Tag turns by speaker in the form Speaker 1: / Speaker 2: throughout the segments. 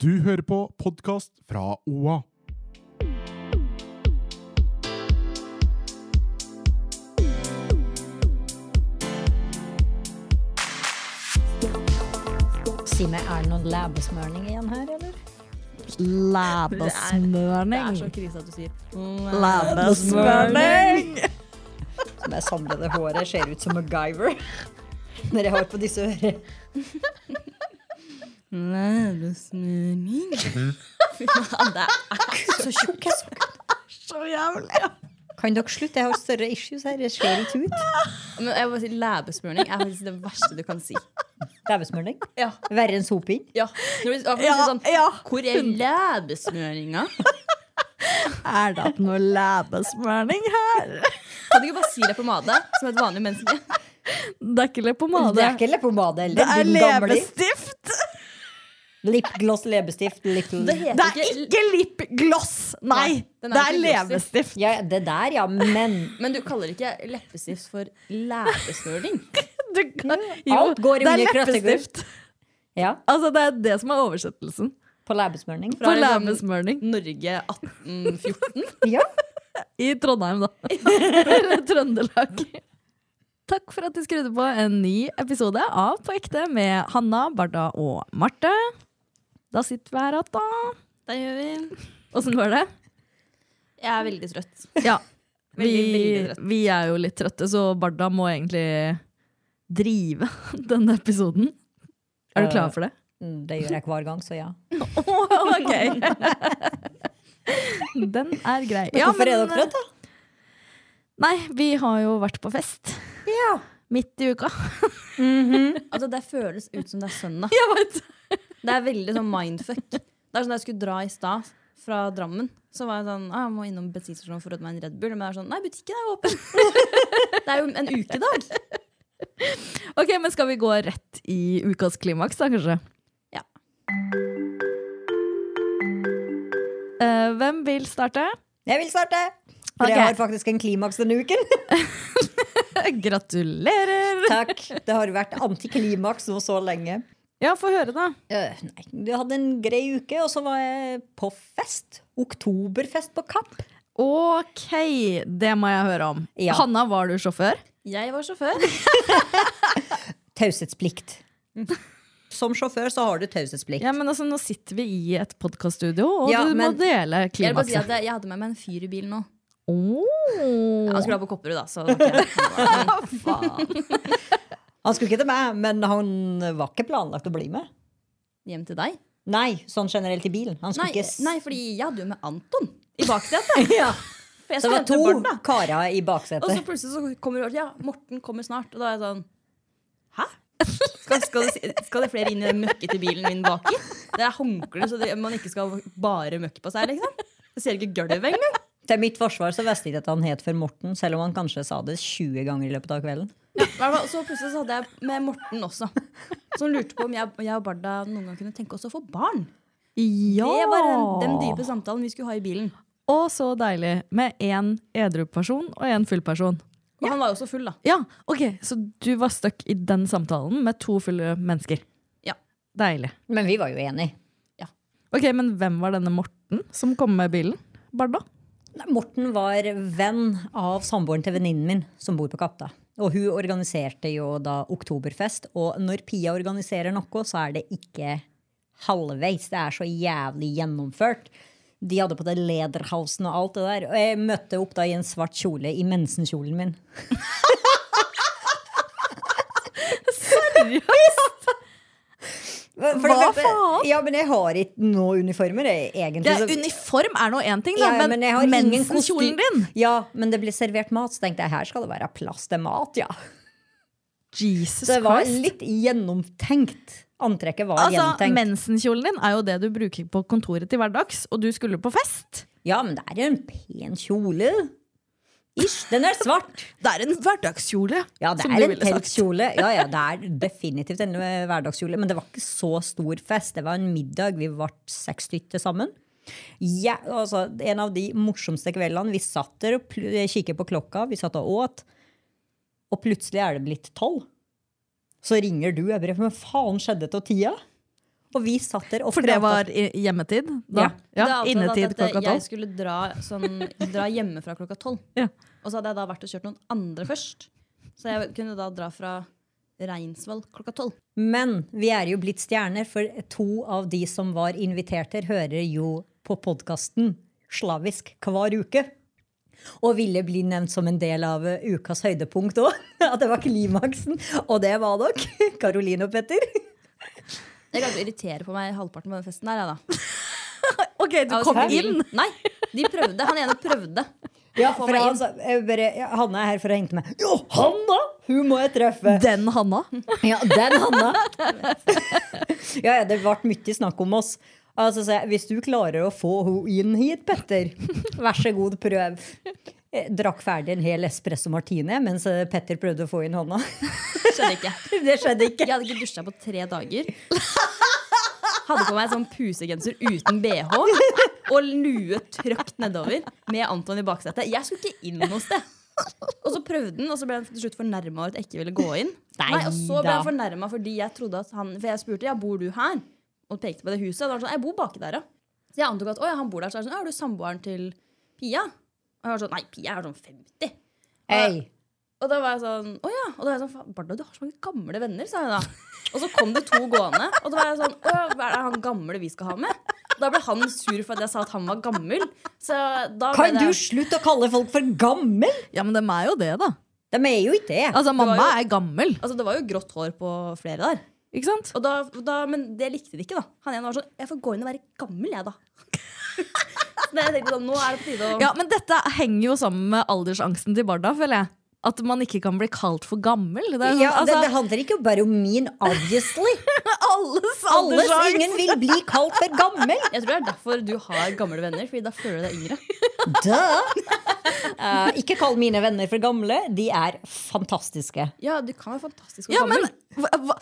Speaker 1: Du hører på podkast fra OA.
Speaker 2: Si meg, er det noen læbesmørning igjen her, eller?
Speaker 3: Læbesmørning.
Speaker 2: krise at du sier
Speaker 3: Læbesmørning!
Speaker 2: Som jeg samlede håret ser ut som MacGyver. Når jeg har på disse ører.
Speaker 3: Læbesmørning. Fy faen, det er så tjukk. Så jævlig.
Speaker 2: Kan dere slutte? Jeg har større issues her. Jeg ser ikke ut.
Speaker 3: Men jeg må si Læbesmørning er faktisk det verste du kan si.
Speaker 2: Læbesmørning.
Speaker 3: Ja.
Speaker 2: Verre enn soping.
Speaker 3: Ja. Når du, ja,
Speaker 2: Ja,
Speaker 3: sånn,
Speaker 2: ja.
Speaker 3: Hvor er læbesmøringa?
Speaker 4: Er det noe læbesmørning her?
Speaker 3: Kan du ikke bare si det på made, som et vanlig menneske?
Speaker 4: Det er ikke leppepomade.
Speaker 2: Det er ikke leppepomade heller. din gamle.
Speaker 4: leppestift!
Speaker 2: Lipgloss, leppestift, little
Speaker 3: Det heter
Speaker 4: Det er ikke lipgloss! Nei,
Speaker 3: den er
Speaker 4: det er
Speaker 3: ikke glossy.
Speaker 4: leppestift.
Speaker 2: ja, Det der, ja. Men
Speaker 3: Men du kaller ikke leppestift for læbesmøring?
Speaker 4: Du kan,
Speaker 2: Alt går i
Speaker 4: det er
Speaker 2: mye krøttegull.
Speaker 4: leppestift.
Speaker 2: ja,
Speaker 4: Altså, det er det som er oversettelsen.
Speaker 2: på læbesmørning.
Speaker 3: Fra
Speaker 4: For
Speaker 3: liksom-
Speaker 4: læbesmørning.
Speaker 3: Norge 1814?
Speaker 2: Ja.
Speaker 4: I Trondheim, da. Eller Trøndelag. Takk for at du skrudde på en ny episode av På ekte med Hanna, Barda og Marte. Da sitter vi her igjen, da.
Speaker 3: Der gjør vi.
Speaker 4: Åssen går det?
Speaker 3: Jeg er veldig trøtt.
Speaker 4: Ja.
Speaker 3: Veldig, veldig
Speaker 4: Vi,
Speaker 3: trøtt.
Speaker 4: vi er jo litt trøtte, så Barda må egentlig drive denne episoden. Er du
Speaker 2: Eh.
Speaker 4: klar for det?
Speaker 2: Mm, Det gjør jeg hver gang, så ja.
Speaker 4: Åh, ok! Den er grei.
Speaker 2: Men
Speaker 4: Ja,
Speaker 2: hvorfor er
Speaker 4: men,
Speaker 2: dere trøtt, da?
Speaker 4: Nei, vi har jo vært på fest.
Speaker 2: Ja.
Speaker 4: Midt i uka.
Speaker 3: Altså, det føles ut som det er søndag.
Speaker 4: Jeg vet.
Speaker 3: Det er veldig sånn mindfuck. Det er sånn da jeg skulle dra i stad fra Drammen, så var jeg sånn ah, Jeg må innom bensinstasjonen for å få meg en Red Bull. Men det er sånn Nei, butikken er jo åpen! Det er jo en ukedag.
Speaker 4: Ok, men skal vi gå rett i ukas klimaks da, kanskje?
Speaker 3: Ja.
Speaker 4: Eh, hvem vil starte?
Speaker 2: Jeg vil starte! For
Speaker 4: Ok.
Speaker 2: jeg har faktisk en klimaks denne uken.
Speaker 4: Gratulerer!
Speaker 2: Takk. Det har vært antiklimaks nå så lenge.
Speaker 4: Ja, få høre da.
Speaker 2: Øh, nei, jeg hadde en grei uke, og så var jeg på fest. Oktoberfest på Kapp.
Speaker 4: Ok, det må jeg høre om.
Speaker 2: Ja.
Speaker 4: Hanna, var du sjåfør?
Speaker 3: Jeg var sjåfør.
Speaker 2: Taushetsplikt. Som sjåfør så har du taushetsplikt.
Speaker 4: Ja, men altså, nå sitter vi i et podcaststudio, og
Speaker 2: Ja,
Speaker 4: du
Speaker 2: men-
Speaker 4: må dele
Speaker 3: Jeg, vil bare si
Speaker 4: klimakset.
Speaker 3: at jeg, jeg hadde med meg en fyr i bilen nå.
Speaker 4: Åh.
Speaker 3: Han skulle ha på Kopperud, da. Så det var ikke- men, faen.
Speaker 2: Han skulle ikke til meg, men han var ikke planlagt å bli med.
Speaker 3: Hjem til deg?
Speaker 2: Nei, sånn generelt i bilen. Han skulle
Speaker 3: Nei,
Speaker 2: ikke s-
Speaker 3: nei, fordi jeg hadde jo med Anton i baksetet.
Speaker 2: Ja.
Speaker 3: For jeg
Speaker 2: Så det
Speaker 3: skulle
Speaker 2: var
Speaker 3: hente barn,
Speaker 2: to
Speaker 3: da.
Speaker 2: karer i
Speaker 3: Og så
Speaker 2: baksetet.
Speaker 3: plutselig så kommer det Ja, Morten kommer snart. Og da er jeg sånn Hæ? Skal, skal, det, si- skal det flere inn i den møkkete bilen min baki? Det er håndkle, så det, man ikke skal bare møkk på seg, liksom. Jeg ser ikke gulvet engang.
Speaker 2: Til mitt forsvar så visste jeg ikke at han het for Morten, selv om han kanskje sa det 20 ganger i løpet av kvelden.
Speaker 3: I hvert fall, Så plutselig så hadde jeg med Morten også, som lurte på om jeg, jeg og Barda noen gang kunne tenke oss å få barn.
Speaker 4: Ja!
Speaker 3: Det var den, den dype samtalen vi skulle ha i bilen.
Speaker 4: Og så deilig, med en edru person og en full person.
Speaker 3: Og han var jo også full, da.
Speaker 4: Ja, ok, så du var støkk i den samtalen med to fulle mennesker.
Speaker 3: Ja.
Speaker 4: Deilig.
Speaker 2: Men vi var jo enige.
Speaker 4: Ok, men hvem var denne Morten som kom med bilen? Barda?
Speaker 2: Nei, Morten var venn av samboeren til venninnen min som bor på Kapp. da. Og hun organiserte jo da oktoberfest. Og når Pia organiserer noe, så er det ikke halvveis. Det er så jævlig gjennomført. De hadde på det lederhausen og alt det der. Og jeg møtte opp da i en svart kjole i mensenkjolen min. For det
Speaker 4: Hva
Speaker 2: første-
Speaker 4: faen?
Speaker 2: Ja, men jeg har ikke noen uniformer, jeg, egentlig. så-
Speaker 4: uniform er nå én ting,
Speaker 2: Ja, ja, men jeg har ingen kosty-
Speaker 4: mensenkjolen din
Speaker 2: Ja, men det ble servert mat, så tenkte jeg her skal det være plass til mat, ja.
Speaker 4: Jesus
Speaker 2: Så det var
Speaker 4: Christ.
Speaker 2: litt gjennomtenkt Antrekket var
Speaker 4: Altså,
Speaker 2: gjentenkt.
Speaker 4: Mensenkjolen din er jo det du bruker på kontoret til hverdags, og du skulle på fest.
Speaker 2: Ja, men det er en pen kjole. Ish, den er svart.
Speaker 4: Det er en hverdagskjole,
Speaker 2: Ja, det
Speaker 4: som
Speaker 2: er
Speaker 4: du
Speaker 2: en
Speaker 4: ville sagt.
Speaker 2: teltkjole. Ja, ja, det er definitivt en eh, hverdagskjole. Men det var ikke så stor fest. Det var en middag. Vi ble seks stykker sammen. Ja, altså, en av de morsomste kveldene. Vi satt der og pl- eh, kikket på klokka. Vi satt og åt. Og plutselig er det blitt tolv. Så ringer du. Jeg bare Men faen skjedde det til tida? Og vi satt der og
Speaker 4: For det
Speaker 2: pratet.
Speaker 4: var i- hjemmetid? Da.
Speaker 2: Ja.
Speaker 4: Ja,
Speaker 3: Det er avtalt
Speaker 4: Innetid
Speaker 3: at, eh,
Speaker 4: klokka
Speaker 3: Jeg
Speaker 4: tolv?
Speaker 3: skulle dra, sånn, dra hjemmefra klokka tolv.
Speaker 4: Ja.
Speaker 3: Og så hadde jeg da vært og kjørt noen andre først. Så jeg kunne da dra fra Reinsvoll klokka tolv.
Speaker 2: Men vi er jo blitt stjerner, for to av de som var invitert her, hører jo på podkasten slavisk hver uke. Og ville bli nevnt som en del av eh, ukas høydepunkt òg. At det var klimaksen. Og det var dere. Karoline og Petter.
Speaker 3: Jeg klarte å irritere på meg halvparten på den festen der. Jeg, da.
Speaker 4: Ok, du
Speaker 3: Jeg var
Speaker 4: kom
Speaker 3: så
Speaker 4: inn!
Speaker 3: forvirret. Nei, de prøvde. Han ene prøvde.
Speaker 2: Ja,
Speaker 3: Få
Speaker 2: for
Speaker 3: meg
Speaker 2: han
Speaker 3: inn.
Speaker 2: sa, jeg bare, ja, Hanna er her for å hente meg. Jo, Hanna! Hun må jeg treffe.
Speaker 4: Den Hanna.
Speaker 2: Ja, den Hanna. ja, ja, det ble mye snakk om oss. Altså, sa jeg, hvis du klarer å få henne inn hit, Petter, vær så god, prøv. Jeg drakk ferdig en hel espresso martini mens eh, Petter prøvde å få inn hånda.
Speaker 3: Skjønner ikke.
Speaker 2: Det skjedde ikke.
Speaker 3: Jeg hadde ikke dusja på tre dager. Hadde på meg sånn pusegenser uten bh og lue trøkt nedover med Anton i baksetet. Jeg skulle ikke inn noe sted. Og så prøvde han, og så ble han til slutt fornærma over at jeg ikke ville gå inn.
Speaker 2: Nei
Speaker 3: og så ble
Speaker 2: da.
Speaker 3: han fornærma fordi jeg trodde at han For jeg spurte ja, bor du her? Og pekte på det huset. Og da var han sånn, jeg bor baki der, ja. Så jeg antok at å, ja, han bor der. Så er det sånn, ja, er du samboeren til Pia? Og jeg var sånn, nei, Pia er sånn 50.
Speaker 2: Hey.
Speaker 3: Og da var jeg sånn, å ja. Og da var jeg sånn, "Faen, Barda, du har så mange gamle venner, sa jeg da. Og så kom det to gående, og da var jeg sånn, å ja, hva er det han gamle vi skal ha med? Da ble han sur for at jeg sa at han var gammel. Så da ble
Speaker 2: Kan du
Speaker 3: det...
Speaker 2: slutte å kalle folk for gammel?
Speaker 4: Ja, men de er jo det, da.
Speaker 2: De er jo ikke det.
Speaker 4: Altså, mamma
Speaker 3: jo-
Speaker 4: er gammel,
Speaker 3: Altså, det var jo grått hår på flere der.
Speaker 4: ikke sant?
Speaker 3: Og da, da, men det likte de ikke, da. Han ene var sånn Jeg får gå inn og være gammel, jeg, da. Så da jeg tenkte sånn, nå er det på tide å
Speaker 4: Ja, men dette henger jo sammen med aldersangsten til Barda, føler jeg. At man ikke kan bli kalt for gammel. Det er sånn,
Speaker 2: Ja, det,
Speaker 4: altså,
Speaker 2: det handler ikke bare om min, obviously.
Speaker 4: alles
Speaker 2: Alles
Speaker 4: aldersangst!
Speaker 2: ingen vil bli kalt for gammel.
Speaker 3: Jeg tror det er derfor du har gamle venner, Fordi da føler du deg yngre.
Speaker 2: Duh. Eh, ikke kall mine venner for gamle. De er fantastiske.
Speaker 3: Ja, du kan være fantastisk og
Speaker 4: Ja, men
Speaker 3: gammel.
Speaker 4: hva, hva,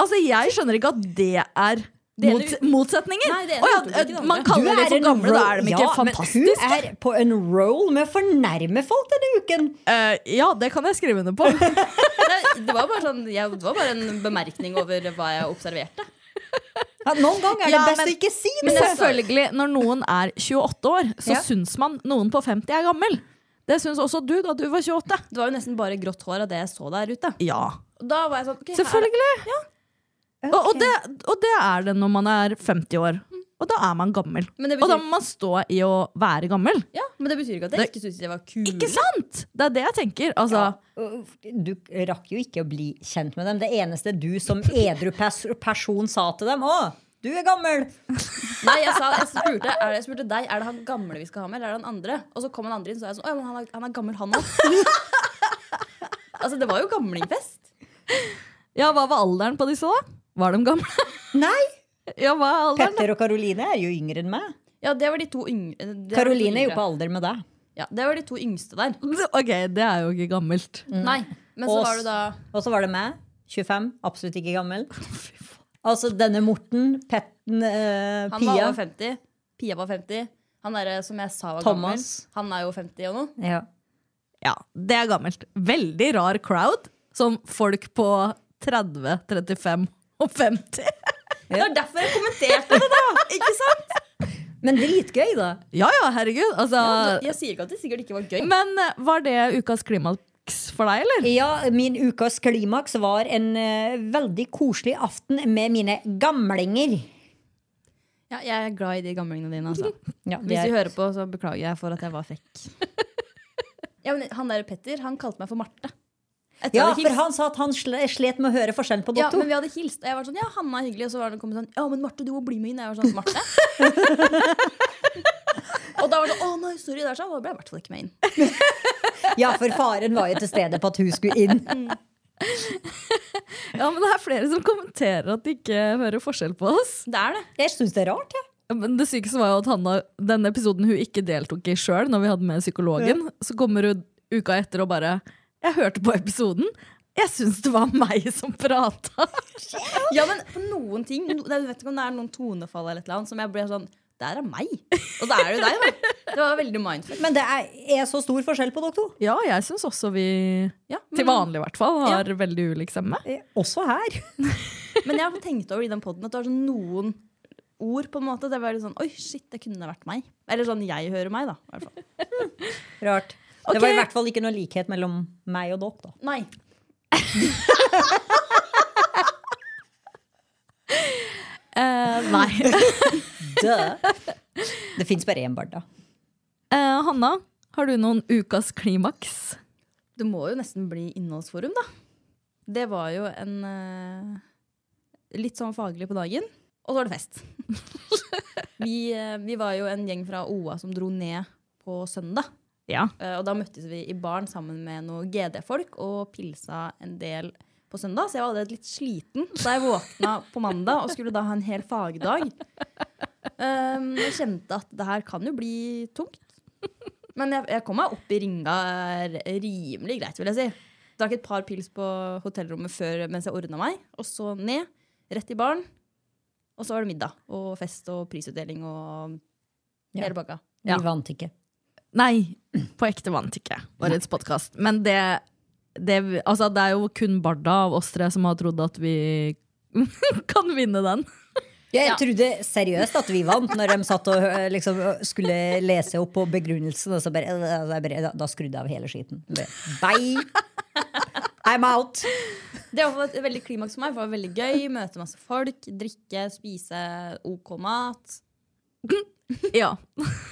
Speaker 4: Altså, jeg skjønner ikke at det er
Speaker 3: ene
Speaker 4: mot, motsetninger.
Speaker 3: Nei, det ene
Speaker 4: Å ja,
Speaker 3: utelukker ikke det
Speaker 4: man
Speaker 2: Du
Speaker 3: andre.
Speaker 4: kaller de
Speaker 2: er
Speaker 4: for
Speaker 2: en
Speaker 4: gamle, da
Speaker 2: roll-
Speaker 4: er de
Speaker 2: Ja,
Speaker 4: ikke
Speaker 2: men
Speaker 4: fantastiske.
Speaker 2: Hun er på en roll med å fornærme folk denne uken.
Speaker 4: Eh, ja, det kan jeg skrive under på.
Speaker 3: Nei, Det var bare sånn jeg, Det var bare en bemerkning over hva jeg observerte.
Speaker 2: Ja, noen ganger er det
Speaker 4: Ja,
Speaker 2: best
Speaker 4: men-
Speaker 2: å ikke si
Speaker 4: Men altså-
Speaker 2: noe.
Speaker 4: selvfølgelig, når noen er 28 år, så
Speaker 2: altså- Ja.
Speaker 4: syns man noen på 50 er gammel. Det syns også du da du var 28.
Speaker 3: Det var jo nesten bare grått hår av det jeg så der ute.
Speaker 4: Ja,
Speaker 3: Og da var jeg sånn ok, her er-
Speaker 4: selvfølgelig. Og, og, det, og det er det når man er 50 år. Og da er man gammel.
Speaker 3: Men det betyr-
Speaker 4: Og da må man stå i å være gammel.
Speaker 3: Ja, Men det betyr ikke at jeg ikke syntes de var kule.
Speaker 4: Ikke sant? Det er det jeg tenker. Altså,
Speaker 2: Du rakk jo ikke å bli kjent med dem. Det eneste du som edru pers person sa til dem, å, du er gammel.
Speaker 3: Nei, jeg, sa, jeg, spurte, er det, jeg spurte deg Er det han gamle vi skal ha med, eller er det han andre. Og så kom han andre inn, så er jeg sånn Å ja, men han er, han er gammel, han òg. altså, det var jo gamlingfest.
Speaker 4: ja, Hva var alderen på disse, da? Var de gamle?
Speaker 2: Nei,
Speaker 4: Ja, hva er alderen?
Speaker 2: Petter og Karoline er jo yngre enn meg.
Speaker 3: Ja, det var de to yngre. det var de to
Speaker 2: Karoline er jo
Speaker 3: yngre.
Speaker 2: på alder med deg.
Speaker 3: Ja, det var de to yngste der.
Speaker 4: Ok, det er jo ikke gammelt.
Speaker 3: Nei, men så
Speaker 2: Ås.
Speaker 3: var det da
Speaker 2: Og så var det meg, 25, absolutt ikke gammel. Altså denne Morten, Petten, eh,
Speaker 3: Han var
Speaker 2: Pia.
Speaker 3: over 50. Pia var 50. Han derre som jeg sa var
Speaker 2: Thomas.
Speaker 3: gammel, han er jo 50 og noe.
Speaker 2: Ja.
Speaker 4: Ja, det er gammelt. Veldig rar crowd. Som folk på 30, 35 og 50.
Speaker 3: Det var derfor jeg kommenterte det, da! Ikke sant?
Speaker 2: Men dritgøy, da.
Speaker 4: Ja ja, herregud. Altså,
Speaker 3: Jeg sier ikke at det sikkert ikke var gøy.
Speaker 4: men eh, var det ukas klimaks for deg, eller?
Speaker 2: Ja, min ukas klimaks var en eh, veldig koselig aften med mine gamlinger.
Speaker 3: Ja, jeg er glad i de gamlingene dine. Altså.
Speaker 2: Ja, det
Speaker 3: Hvis
Speaker 2: er-
Speaker 3: du hører på, så beklager jeg for at jeg var frekk. Ja, men han der Petter han kalte meg for Marte. Etter
Speaker 2: ja
Speaker 3: jeg hadde
Speaker 2: for
Speaker 3: hilst.
Speaker 2: han sa at han sl- slet med å høre forskjellen på
Speaker 3: ja,
Speaker 2: dere to.
Speaker 3: men vi hadde hilst, og jeg var sånn Ja, Hanna er hyggelig. Og så var det kommet sånn Ja, men Marte, du må bli med inn. Jeg var sånn Marte? og da var det sånn Å nei, sorry. Der, så. Og da ble jeg i hvert fall ikke med inn.
Speaker 2: Ja, for faren var jo til stede på at hun skulle inn.
Speaker 4: Ja, men det er flere som kommenterer at de ikke hører forskjell på oss.
Speaker 3: Det er det.
Speaker 2: Jeg syns det er rart, jeg.
Speaker 4: Ja, Men det sykeste var jo at Hanna, den episoden hun ikke deltok i sjøl, når vi hadde med psykologen, så kommer hun uka etter og bare 'Jeg hørte på episoden. Jeg syns det var meg som prata'.
Speaker 3: Ja, men på noen ting no, det, er- Vet ikke om det er noen tonefall eller et eller annet som jeg blir sånn Der er meg! Og så er det jo deg, da. Det var veldig mindfuck.
Speaker 2: Men det er, er så stor forskjell på dere to.
Speaker 4: Ja, jeg syns også vi,
Speaker 3: Ja,
Speaker 4: til
Speaker 3: men-
Speaker 4: vanlig i hvert fall, har veldig ulik stemme.
Speaker 2: Eh, Også her.
Speaker 3: Men jeg har tenkt over i den poden at det var sånn noen ord på en måte der var det sånn Oi, shit, det kunne vært meg. Eller sånn jeg hører meg, da. I hvert fall.
Speaker 2: Rart.
Speaker 4: Ok.
Speaker 2: Det var i hvert fall ikke noe likhet mellom meg og dere, da.
Speaker 3: Nei.
Speaker 4: Eh, nei.
Speaker 2: Død. Det fins bare én Barda.
Speaker 4: Eh, Hanna, har du noen ukas klimaks?
Speaker 3: Det må jo nesten bli innholdsforum, da. Det var jo en eh, Litt sånn faglig på dagen. Og så var det fest. vi, eh, vi var jo en gjeng fra OA som dro ned på søndag.
Speaker 4: Ja.
Speaker 3: Eh, og da møttes vi i baren sammen med noen GD-folk og pilsa en del på søndag. Så jeg var allerede litt sliten da jeg våkna på mandag og skulle da ha en hel fagdag. Um, jeg kjente at det her kan jo bli tungt. Men jeg, jeg kom meg opp i ringa eh, rimelig greit, vil jeg si. Drakk et par pils på hotellrommet før mens jeg ordna meg. Og så ned, rett i baren. Og så var det middag og fest og prisutdeling og
Speaker 2: Ja.
Speaker 3: hele pakka.
Speaker 2: Vi
Speaker 4: Ja.
Speaker 2: vant ikke.
Speaker 4: Nei, på ekte vant ikke årets podkast. Men det, det Altså, det er jo kun Barda av oss tre som har trodd at vi kan vinne den.
Speaker 2: Ja, jeg trodde seriøst at vi vant når de satt og eh, liksom, skulle lese opp på begrunnelsen. Og så bare, eh, så jeg bare, da- da skrudde jeg av hele skiten. Bare, Bye! I'm out!
Speaker 3: Det var et veldig klimaks for meg. for Det var veldig gøy. Møte masse folk, drikke, spise OK mat.
Speaker 4: Ja.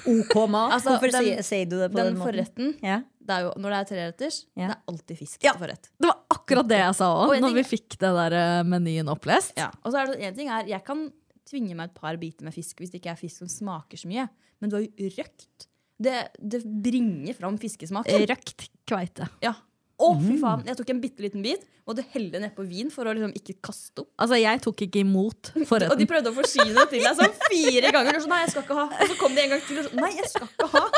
Speaker 2: OK mat.
Speaker 3: Altså,
Speaker 2: Hvorfor
Speaker 3: den-
Speaker 2: sier, sier du det på den,
Speaker 3: Den
Speaker 2: måten?
Speaker 3: forretten
Speaker 2: Ja.
Speaker 3: det er jo, Når det er treretters,
Speaker 2: Ja.
Speaker 3: det er alltid fisk
Speaker 4: Ja.
Speaker 3: til forrett.
Speaker 4: Det var akkurat det jeg sa òg,
Speaker 3: Og en
Speaker 4: når vi
Speaker 3: ting-
Speaker 4: fikk det der eh, menyen opplest.
Speaker 3: Ja. Og så er det en ting er, Jeg kan tvinge meg et par biter med fisk hvis det ikke er fisk som smaker så mye. Men du har jo røkt. Det, det bringer fram fiskesmaken.
Speaker 4: Røkt kveite.
Speaker 3: Ja. Å, fy faen! Jeg tok en bitte liten bit og du heller nedpå vin for å liksom ikke kaste opp.
Speaker 4: Altså, jeg tok ikke
Speaker 3: Og
Speaker 4: imot
Speaker 3: de
Speaker 4: forretten.
Speaker 3: prøvde å forsyne det til deg sånn fire ganger. Og så, nei, jeg skal ikke ha. Og så kom de en gang til og sånn Nei, jeg skal ikke ha.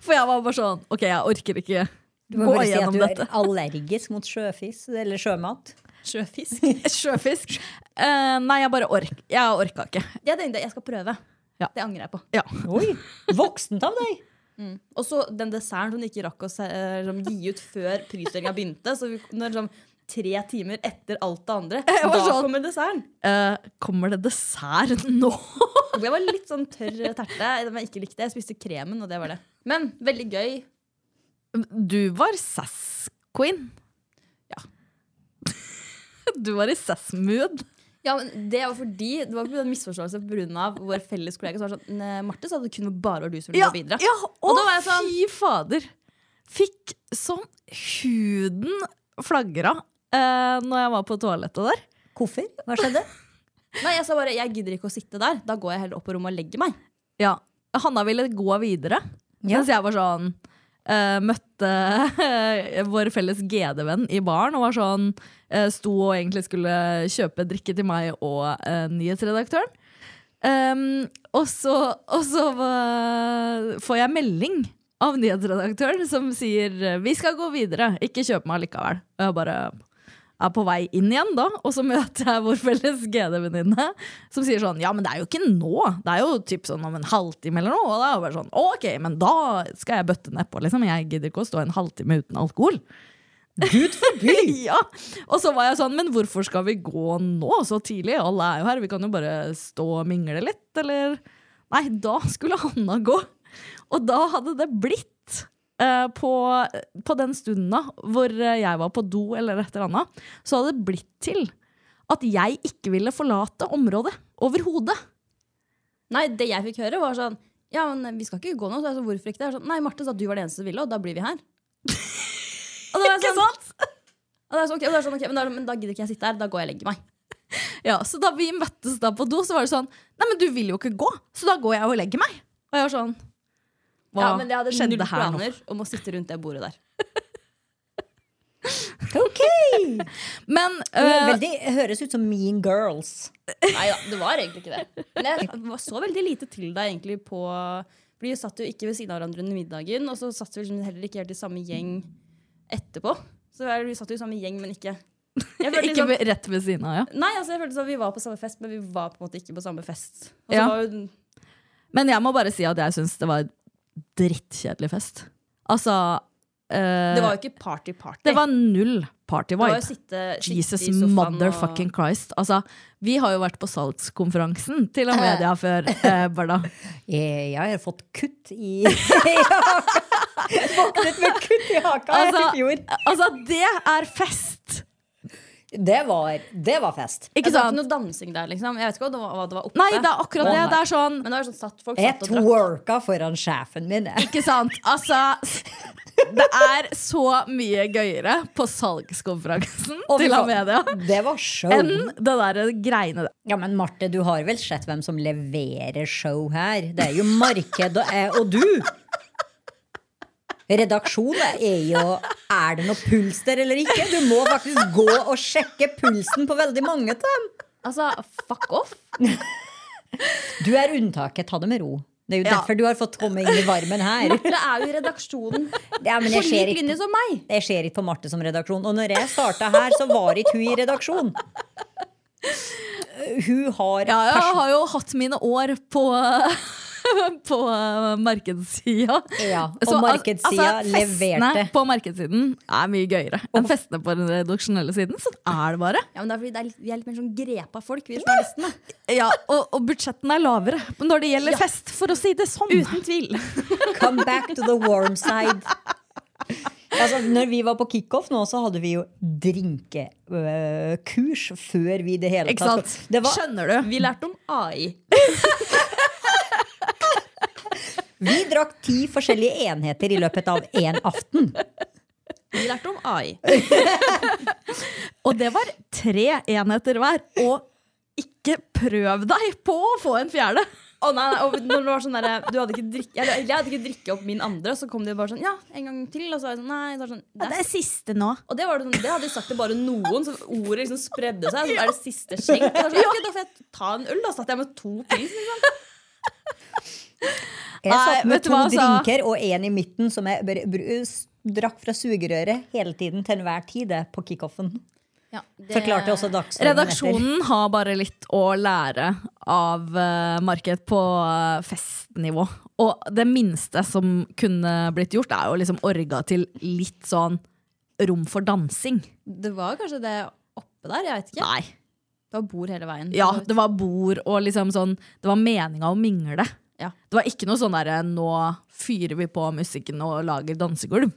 Speaker 4: For jeg var bare sånn Ok, jeg orker ikke
Speaker 2: Du må
Speaker 4: gå
Speaker 2: bare si at
Speaker 4: gjennom
Speaker 2: du
Speaker 4: dette.
Speaker 2: er allergisk mot sjøfisk eller sjømat.
Speaker 3: Sjøfisk.
Speaker 4: Sjøfisk. Eh, nei, jeg bare ork. Jeg orka ikke.
Speaker 3: Jeg tenkte jeg skal prøve.
Speaker 4: Ja.
Speaker 3: Det angrer jeg på.
Speaker 4: Ja.
Speaker 2: Oi, voksent av deg!
Speaker 3: Og så den desserten som de ikke rakk å se- eh, liksom, gi ut før prisdelinga begynte. Så vi, når, liksom, tre timer etter alt det andre,
Speaker 4: Jeg var
Speaker 3: da
Speaker 4: sånn-
Speaker 3: kommer desserten.
Speaker 4: Eh, kommer det dessert nå?
Speaker 3: Og Jeg var litt sånn tørr terte. Den jeg ikke likte. Jeg spiste kremen, og det var det. Men veldig gøy.
Speaker 4: Du var sass-queen.
Speaker 3: Ja.
Speaker 4: Du var i sass-mood.
Speaker 3: Ja, men Det var fordi det var en misforståelse pga. vår felles kollega. Som var sånn, «Ne, Marte sa at det kun var bare du som ville
Speaker 4: Ja,
Speaker 3: gå videre.
Speaker 4: ja, å,
Speaker 3: da var jeg sånn-
Speaker 4: fy fader. Fikk sånn huden flagra eh, når jeg var på toalettet der.
Speaker 2: Hvorfor? Hva skjedde?
Speaker 3: Nei, Jeg sa bare jeg gidder ikke å sitte der. Da går jeg heller opp på rommet og legger meg.
Speaker 4: Ja, Hanna ville gå videre,
Speaker 2: Ja.
Speaker 4: mens jeg var sånn eh, møtte vår felles GD-venn i baren og var sånn eh, Sto og egentlig skulle kjøpe drikke til meg og eh, nyhetsredaktøren. Ehm, og så, og så eh, får jeg melding av nyhetsredaktøren som sier 'vi skal gå videre, ikke kjøp meg likevel'. Og jeg bare er på vei inn igjen da, og så møter jeg vår felles GD-venninne som sier sånn, ja, men det er jo ikke nå, det er jo typ sånn om en halvtime eller noe, og da er jeg bare sånn, «Å, ok, men da skal jeg bøtte ned på, liksom, jeg gidder ikke å stå en halvtime uten alkohol. Gud forby! ja, og så var jeg sånn, men hvorfor skal vi gå nå så tidlig? Alle er jo her, vi kan jo bare stå og mingle litt, eller? Nei, da skulle Hanna gå, og da hadde det blitt eh, på, på den stunden da, hvor eh, jeg var på do eller et eller annet, så hadde det blitt til at jeg ikke ville forlate området overhodet.
Speaker 3: Nei, det jeg fikk høre, var sånn Ja, men vi skal ikke gå nå. Så jeg sa, hvorfor ikke det? Jeg er Sånn, Nei, Marte sa at du var den eneste som ville, og da blir vi her. Og da var jeg sånn,
Speaker 4: sant?
Speaker 3: og da er jeg sånn, ok, og da er jeg sånn, ok, men, da, men da gidder ikke jeg sitte her. Da går jeg og legger meg.
Speaker 4: Ja, så da vi møttes da på do, så var det sånn Nei, men du vil jo ikke gå, så da går jeg og legger meg. Og jeg var sånn Hva
Speaker 3: ja, men jeg hadde null
Speaker 4: skjedde her nå?
Speaker 3: planer om å sitte rundt det bordet der.
Speaker 2: Ok!
Speaker 4: Men
Speaker 2: Det
Speaker 4: øh,
Speaker 2: er veldig, høres ut som Mean Girls.
Speaker 3: Nei da, det var egentlig ikke det. Men jeg var så veldig lite til deg egentlig på For de satt jo ikke ved siden av hverandre under middagen, og så satt vi liksom heller ikke helt i samme gjeng etterpå. Så vi satt jo i samme gjeng, men ikke jeg følte
Speaker 4: Ikke
Speaker 3: liksom,
Speaker 4: ved- rett ved siden av, ja.
Speaker 3: Nei, altså jeg følte sånn at vi var på samme fest, men vi var på en måte ikke på samme fest. Og så
Speaker 4: Ja.
Speaker 3: var jo
Speaker 4: Men jeg må bare si at jeg syns det var drittkjedelig fest. Altså øh,
Speaker 3: Det var jo ikke party-party.
Speaker 4: det var null
Speaker 3: Det var jo
Speaker 4: party-vibe.
Speaker 3: sitte, sitte
Speaker 4: Jesus
Speaker 3: i sofaen
Speaker 4: motherfucking Christ. Altså, vi har jo vært på salgskonferansen, til og med det her før, eh, Barda.
Speaker 2: Eh, Jeg, jeg har fått kutt i Våknet med kutt i haka
Speaker 4: Altså-
Speaker 2: i fjor.
Speaker 4: Altså, det er fest!
Speaker 2: Det var, det var fest.
Speaker 3: Og,
Speaker 4: Ikke
Speaker 3: det var ikke
Speaker 4: sant?
Speaker 3: noe dansing der, liksom. Jeg vet ikke hva det var, hva det var oppe.
Speaker 4: Nei, det er akkurat det. Det er sånn
Speaker 3: Men det var sånn satt folk
Speaker 2: Jeg
Speaker 3: satt og drakk.
Speaker 2: twerka foran sjefen min. jeg.
Speaker 4: Ikke sant? Altså, det er så mye gøyere på salgskonferansen
Speaker 2: Å, fy
Speaker 4: til
Speaker 2: faen.
Speaker 4: Amedia
Speaker 2: Det var show.
Speaker 4: enn det der greiene der.
Speaker 2: Ja, men Marte, du har vel sett hvem som leverer show her? Det er jo marked og, eh, og du! Redaksjon er jo Er det noe puls der eller ikke? Du må faktisk gå og sjekke pulsen på veldig mange av dem.
Speaker 3: Altså, fuck off.
Speaker 2: Du er unntaket. Ta det med ro. Det er jo
Speaker 4: Ja.
Speaker 2: derfor du har fått komme inn i varmen her.
Speaker 3: Det er jo i redaksjonen.
Speaker 2: Ja, men
Speaker 3: På
Speaker 2: jeg ser
Speaker 3: lik
Speaker 2: ikke,
Speaker 3: linje som meg.
Speaker 2: jeg ser ikke på Marte som redaksjon. Og når jeg starta her, så var ikke hun i redaksjon. Hun har
Speaker 4: Ja, jeg
Speaker 2: pers-
Speaker 4: har jo hatt mine år på på eh, markedssida.
Speaker 2: Ja, og
Speaker 4: al- altså,
Speaker 2: markedssida leverte.
Speaker 4: Festene på markedssiden er mye gøyere enn festene på den redaksjonelle siden. Sånn er det bare.
Speaker 3: Ja, men det er fordi det er litt, vi er litt mer sånn grepa folk, vi journalistene.
Speaker 4: Ja, og, og budsjettene er lavere når det gjelder fest, for å si det sånn.
Speaker 3: Uten tvil.
Speaker 2: Come back to the warm side. Altså, når vi var på kickoff nå, så hadde vi jo drinkekurs før vi i det hele
Speaker 4: Ikke sant?
Speaker 2: Det var,
Speaker 4: Skjønner du?
Speaker 3: Vi lærte om AI.
Speaker 2: vi drakk ti forskjellige enheter i løpet av én aften.
Speaker 3: Vi lærte om AI.
Speaker 4: Og det var tre enheter hver. Og ikke prøv deg på å få en fjerde!
Speaker 3: Å nei, nei, og når det var sånn der, du hadde ikke drikke, eller, Jeg hadde ikke drikke opp min andre, og så kom de bare sånn Ja, en gang til. Og så var jeg sånn, nei, så var det sånn, det er
Speaker 4: siste nå.
Speaker 3: Og det, var det, sånn- det hadde de sagt til bare noen, så ordet liksom spredde seg. Så er det siste skjenk. Jeg var Sånn, ok, da får jeg ta en øl. Da satt jeg med to pils. Liksom.
Speaker 2: Jeg
Speaker 4: Nei,
Speaker 2: satt med
Speaker 4: vet du
Speaker 2: to
Speaker 4: hva, altså?
Speaker 2: drinker og én i midten som jeg br- br- s- drakk fra sugerøret hele tiden til enhver tid det, på kickoffen. Forklarte også Dagsnytt
Speaker 4: Redaksjonen har bare litt å lære av eh, marked på eh, festnivå. Og det minste som kunne blitt gjort, er jo liksom orga til litt sånn rom for dansing.
Speaker 3: Det var kanskje det oppe der. Jeg vet ikke.
Speaker 4: Nei.
Speaker 3: Det var bord hele veien.
Speaker 4: Ja, det var bord og liksom sånn Det var meninga å mingle.
Speaker 3: Ja.
Speaker 4: Det var ikke noe sånn derre nå fyrer vi på musikken og lager dansegulv.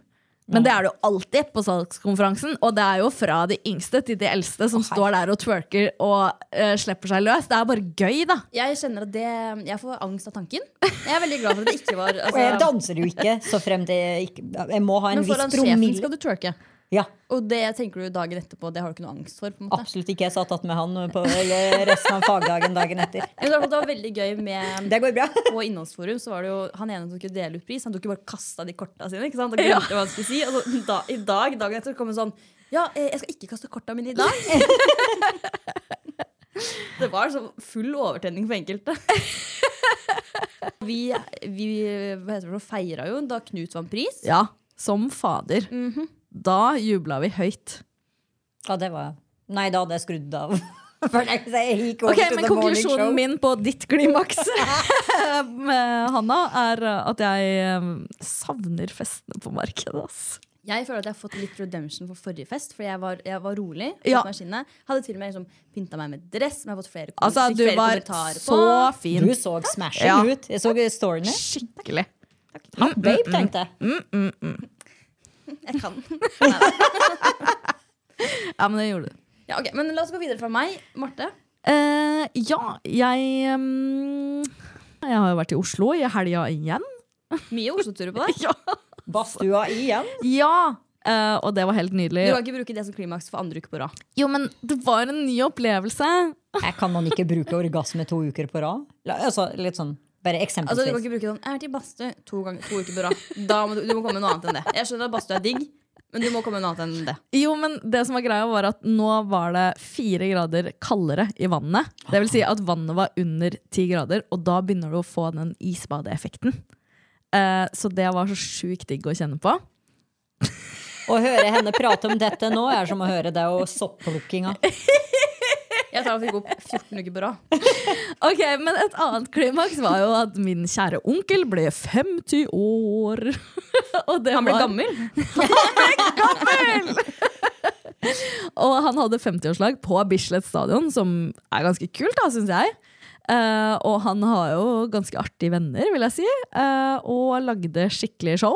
Speaker 4: Men det er det jo alltid på salgskonferansen. Og det er jo fra de yngste til de eldste som står der og twerker og eh, slipper seg løs. Det er bare gøy, da.
Speaker 3: Jeg kjenner at det, jeg får angst av tanken. Jeg er veldig glad for at det ikke var
Speaker 2: Og jeg
Speaker 3: altså,
Speaker 2: danser jo ikke, så frem til jeg ikke Jeg må ha en
Speaker 3: Men
Speaker 2: viss
Speaker 3: foran sjefen
Speaker 2: promille.
Speaker 3: skal du twerke.
Speaker 2: Ja,
Speaker 3: Og det tenker du dagen etterpå, det har du ikke noe angst for? på en måte.
Speaker 2: absolutt ikke. Jeg satt att med han på eller resten av fagdagen dagen etter.
Speaker 3: Jeg synes Det var veldig gøy med
Speaker 2: Det går bra.
Speaker 3: På Innholdsforum så var det jo han ene som skulle dele ut pris. Han tok jo bare kasta de korta sine. ikke sant? Og glemte hva han skulle si. Og så da, i dag, dagen etter så kom det sånn Ja, eh, jeg skal ikke kaste korta mine i dag. det var så full overtenning for enkelte. vi vi hva heter det, for noe, feira jo da Knut vant pris.
Speaker 4: Ja, som fader. Da jubla vi høyt.
Speaker 2: Ja, det var Nei, da hadde jeg skrudd av. For det- jeg gikk over
Speaker 4: Ok,
Speaker 2: to
Speaker 4: Men
Speaker 2: the morning show.
Speaker 4: konklusjonen min på ditt klimaks, med Hanna, er eh, at jeg eh, savner festene på markedet. ass.
Speaker 3: Jeg føler at jeg har fått litt redemption for forrige fest, fordi jeg var, jeg var rolig.
Speaker 4: Ja.
Speaker 3: tok meg i skinnet. Hadde til og med liksom, pynta meg med dress, som jeg har fått flere, kom-
Speaker 4: Altså,
Speaker 3: fikk
Speaker 4: du
Speaker 3: flere
Speaker 4: var
Speaker 3: kommentarer på.
Speaker 4: så fin.
Speaker 2: Du så smashing
Speaker 4: Ja.
Speaker 2: ut. Jeg så storyene.
Speaker 4: Skikkelig. Mm,
Speaker 2: Ja, babe, tenkte jeg.
Speaker 3: Jeg kan.
Speaker 4: Ja, men det gjorde du.
Speaker 3: Ja, ok, Men la oss gå videre fra meg. Marte.
Speaker 4: Eh, ja, jeg mm, Jeg har jo vært i Oslo i helga igjen.
Speaker 3: Mye Oslo-turer på deg.
Speaker 2: Badstua igjen.
Speaker 4: Ja! Eh, og det var helt nydelig.
Speaker 3: Du kan ikke bruke det som klimaks for andre uke på rad.
Speaker 4: Jo, men det var en ny opplevelse.
Speaker 2: Jeg kan man ikke bruke orgasme to uker på rad? La- Altså, litt sånn, bare
Speaker 3: Altså, du kan
Speaker 2: eksempelvis.
Speaker 3: ikke bruke sånn 'jeg har vært i badstue to, ganger- to uker på rad'. Da må du, du må komme med noe annet enn det. Jeg skjønner at badstue er digg. Men du må komme med noe annet enn det.
Speaker 4: Jo, men det som var greia var at nå var det fire grader kaldere i vannet. Det vil si at vannet var under ti grader, og da begynner du å få den isbadeeffekten. Eh, så det var så sjukt digg å kjenne på.
Speaker 2: Å høre henne prate om dette nå er som å høre deg og sopplukkinga.
Speaker 3: Jeg tar det for god 14 uker på rad.
Speaker 4: Ok, Men et annet klimaks var jo at min kjære onkel ble 50 år. og det
Speaker 3: Han ble
Speaker 4: var-
Speaker 3: gammel.
Speaker 4: Og han hadde 50-årslag på Bislett stadion, som er ganske kult, da, syns jeg. Eh, og han har jo ganske artige venner, vil jeg si, eh, og lagde skikkelig show.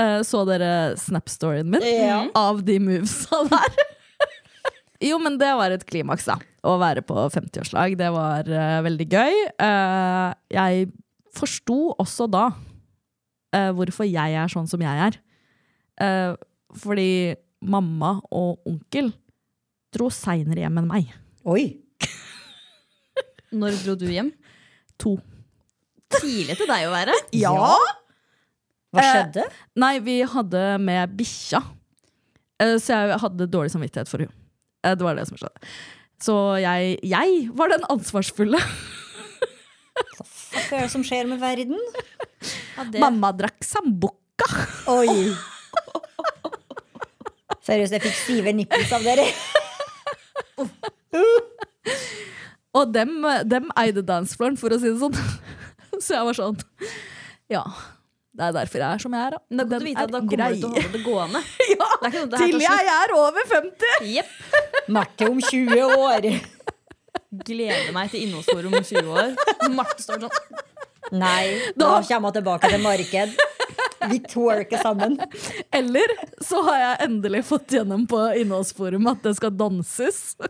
Speaker 4: Eh, så dere Snap-storyen min av de movesa der? jo, men det var et klimaks, da. Å være på 50-årslag. Det var eh, veldig gøy. Eh, jeg forsto også da eh, hvorfor jeg er sånn som jeg er. Eh, fordi mamma og onkel dro seinere hjem enn meg.
Speaker 2: Oi!
Speaker 3: Når dro du hjem?
Speaker 4: To.
Speaker 3: Tidlig til deg å være.
Speaker 4: Ja?
Speaker 3: Eh,
Speaker 2: Hva skjedde?
Speaker 4: Nei, vi hadde med bikkja. Eh, Så jeg hadde dårlig samvittighet for henne. Eh, Det var det som skjedde. Så jeg, jeg var den ansvarsfulle.
Speaker 2: Hva er det som skjer med verden?
Speaker 4: Mamma drakk sambukka.
Speaker 2: Oi! Seriøst, jeg fikk stive nipples av dere.
Speaker 4: Og dem, dem eide danceflooren, for å si det sånn. Så jeg var sånn Ja, det er derfor jeg er som jeg er, da.
Speaker 3: Da kan du
Speaker 4: Den
Speaker 3: vite at da
Speaker 4: er
Speaker 3: kommer du til å
Speaker 4: grei.
Speaker 3: holde det gående.
Speaker 4: Ja,
Speaker 3: Det er ikke noe det her
Speaker 4: til jeg er over 50!
Speaker 3: Jepp.
Speaker 2: Marte om 20 år.
Speaker 3: Gleder meg til innholdsforum om 20 år. Marte står sånn.
Speaker 2: Nei, da kommer hun tilbake til marked. Vi twerker sammen.
Speaker 4: Eller så har jeg endelig fått gjennom på innholdsforum at det skal danses. Står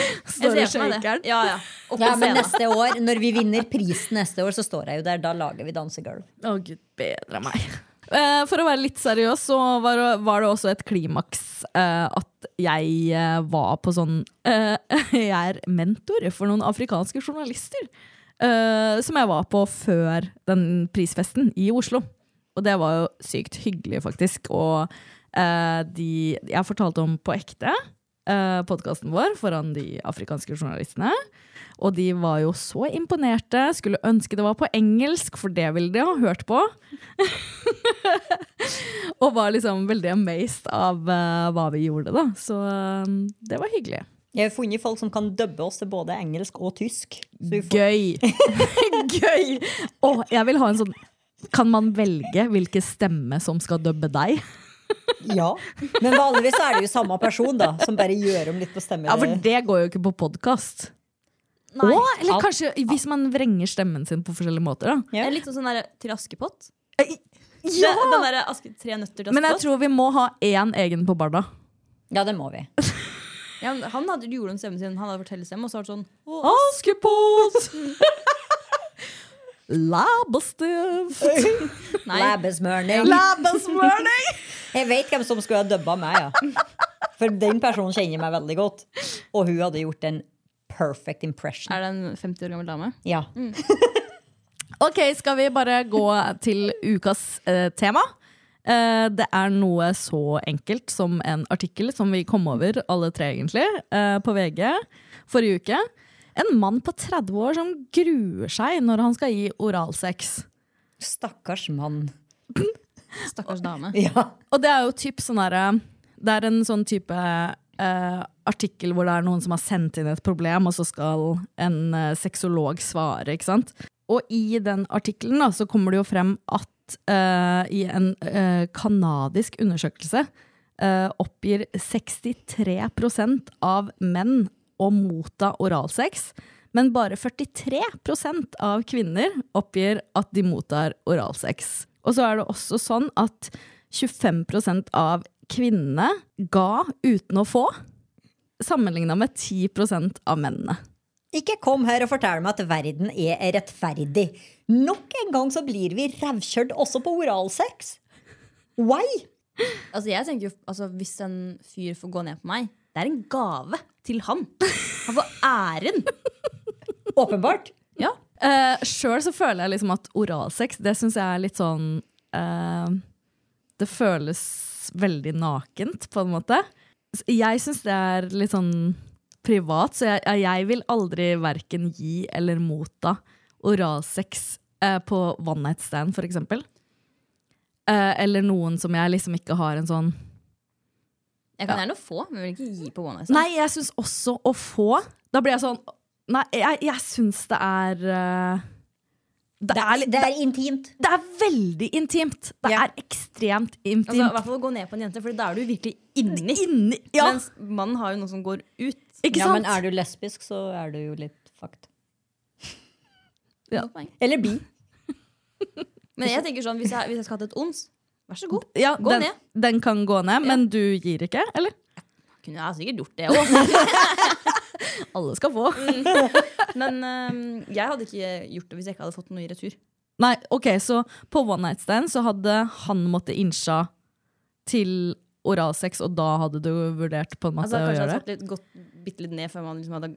Speaker 4: i
Speaker 3: Jeg ser for meg det.
Speaker 4: shakeren.
Speaker 3: Ja, ja. Opp på
Speaker 2: Ja, men
Speaker 3: scenen.
Speaker 2: neste år, Når vi vinner prisen neste år, så står jeg jo der. Da lager vi dansegulv.
Speaker 4: Å, gud bedre meg. Eh, For å være litt seriøs, så var det, var det også et klimaks eh, at jeg eh, var på sånn eh, Jeg er mentor for noen afrikanske journalister. eh, som jeg var på før den prisfesten i Oslo. Og det var jo sykt hyggelig, faktisk. Og eh, de Jeg fortalte om På ekte, eh, podkasten vår, foran de afrikanske journalistene. Og de var jo så imponerte. Skulle ønske det var på engelsk, for det ville de ha hørt på. og var liksom veldig amazed av eh, hva vi gjorde, da. Så eh, det var hyggelig.
Speaker 2: Jeg har funnet folk som kan dubbe oss til både engelsk og tysk. Så vi får
Speaker 4: Gøy! Gøy! Å, jeg vil ha en sånn Kan man velge hvilken stemme som skal dubbe deg?
Speaker 2: Ja, Men vanligvis er det jo samme person da, som bare gjør om litt på stemmen.
Speaker 4: Ja, For det går jo ikke på podkast. Å, eller
Speaker 2: Alt-
Speaker 4: kanskje hvis man vrenger stemmen sin på forskjellige måter, da.
Speaker 3: Det er litt sånn der til Askepott. Den, den der aske, tre nøtter til Askepott.
Speaker 4: Men jeg tror vi må ha én egen på Barda.
Speaker 2: Ja, det må vi.
Speaker 3: ja, men han hadde gjorde om stemmen sin, han hadde fortellerstemme, og så var det sånn «Å,
Speaker 4: Askepott! Læbestift!
Speaker 3: Nei,
Speaker 2: Læbesmørning.
Speaker 4: Læbesmørning!
Speaker 2: Jeg vet hvem som skulle ha dubba meg, ja. For den personen kjenner meg veldig godt. Og hun hadde gjort en perfect impression.
Speaker 3: er det en 50 år gammel dame?
Speaker 2: Ja.
Speaker 4: Ok, skal vi bare gå til ukas eh, tema? Eh, det er noe så enkelt som en artikkel som vi kom over, alle tre egentlig, eh, på VG forrige uke. En mann på 30 år som gruer seg når han skal gi oralsex.
Speaker 2: Stakkars mann.
Speaker 3: Stakkars dame.
Speaker 2: Ja.
Speaker 4: Og det er jo typ sånn derre- Det er en sånn type eh, artikkel hvor det er noen som har sendt inn et problem, og så skal en uh, sexolog svare, ikke sant? Og i den artikkelen da, så kommer det jo frem at eh, i en eh, kanadisk undersøkelse eh, oppgir 63 av menn å motta oralsex, men bare 43 av kvinner oppgir at de mottar oralsex. Og så er det også sånn at 25 av kvinnene ga uten å få, sammenligna med 10 av mennene.
Speaker 2: Ikke kom her og fortell meg at verden er rettferdig. Nok en gang så blir vi rævkjørt også på oralsex. Why?
Speaker 3: Altså, jeg tenker jo, altså, Hvis en fyr får gå ned på meg, det er en gave til han. Han får æren.
Speaker 2: Åpenbart.
Speaker 3: Ja.
Speaker 4: Uh, Sjøl så føler jeg liksom at oralsex, eh, det syns jeg er litt sånn eh, Det føles veldig nakent, på en måte. S- Jeg syns det er litt sånn privat, så jeg, jeg vil aldri verken gi eller motta oralsex eh, på one night stand, for eksempel. Eh, eller noen som jeg liksom ikke har en sånn
Speaker 3: Jeg kan gjerne få, men vil ikke gi på one night stand.
Speaker 4: Nei, jeg syns også å få Da blir jeg sånn Nei, jeg, jeg syns det er eh, det, er, litt-
Speaker 2: Det er intimt.
Speaker 4: det er veldig intimt. Det
Speaker 3: Ja.
Speaker 4: er ekstremt intimt.
Speaker 3: Altså, I hvert fall gå ned på en jente, for da er du virkelig inni.
Speaker 4: Inni, ja,
Speaker 3: Mens mannen har jo noe som går ut.
Speaker 4: ikke
Speaker 2: Ja,
Speaker 4: sant?
Speaker 2: men er du lesbisk, så er du jo litt fucked.
Speaker 4: Ja.
Speaker 2: Eller bi.
Speaker 3: Men jeg tenker sånn, hvis jeg, hvis jeg skal ha et ons, vær så god.
Speaker 4: ja,
Speaker 3: Gå
Speaker 4: den,
Speaker 3: ned.
Speaker 4: Den kan gå ned, men du gir ikke, eller?
Speaker 3: Kunne jeg sikkert gjort det òg.
Speaker 4: Alle skal få.
Speaker 3: Men øhm, jeg hadde ikke gjort det hvis jeg ikke hadde fått noe i retur.
Speaker 4: Nei, ok, så på One Night Stand så hadde han måttet innsja til oralsex, og da hadde du vurdert på en måte
Speaker 3: Altså,
Speaker 4: å
Speaker 3: kanskje jeg hadde
Speaker 4: gjøre det?
Speaker 3: fått litt, gått bitte litt ned før man liksom hadde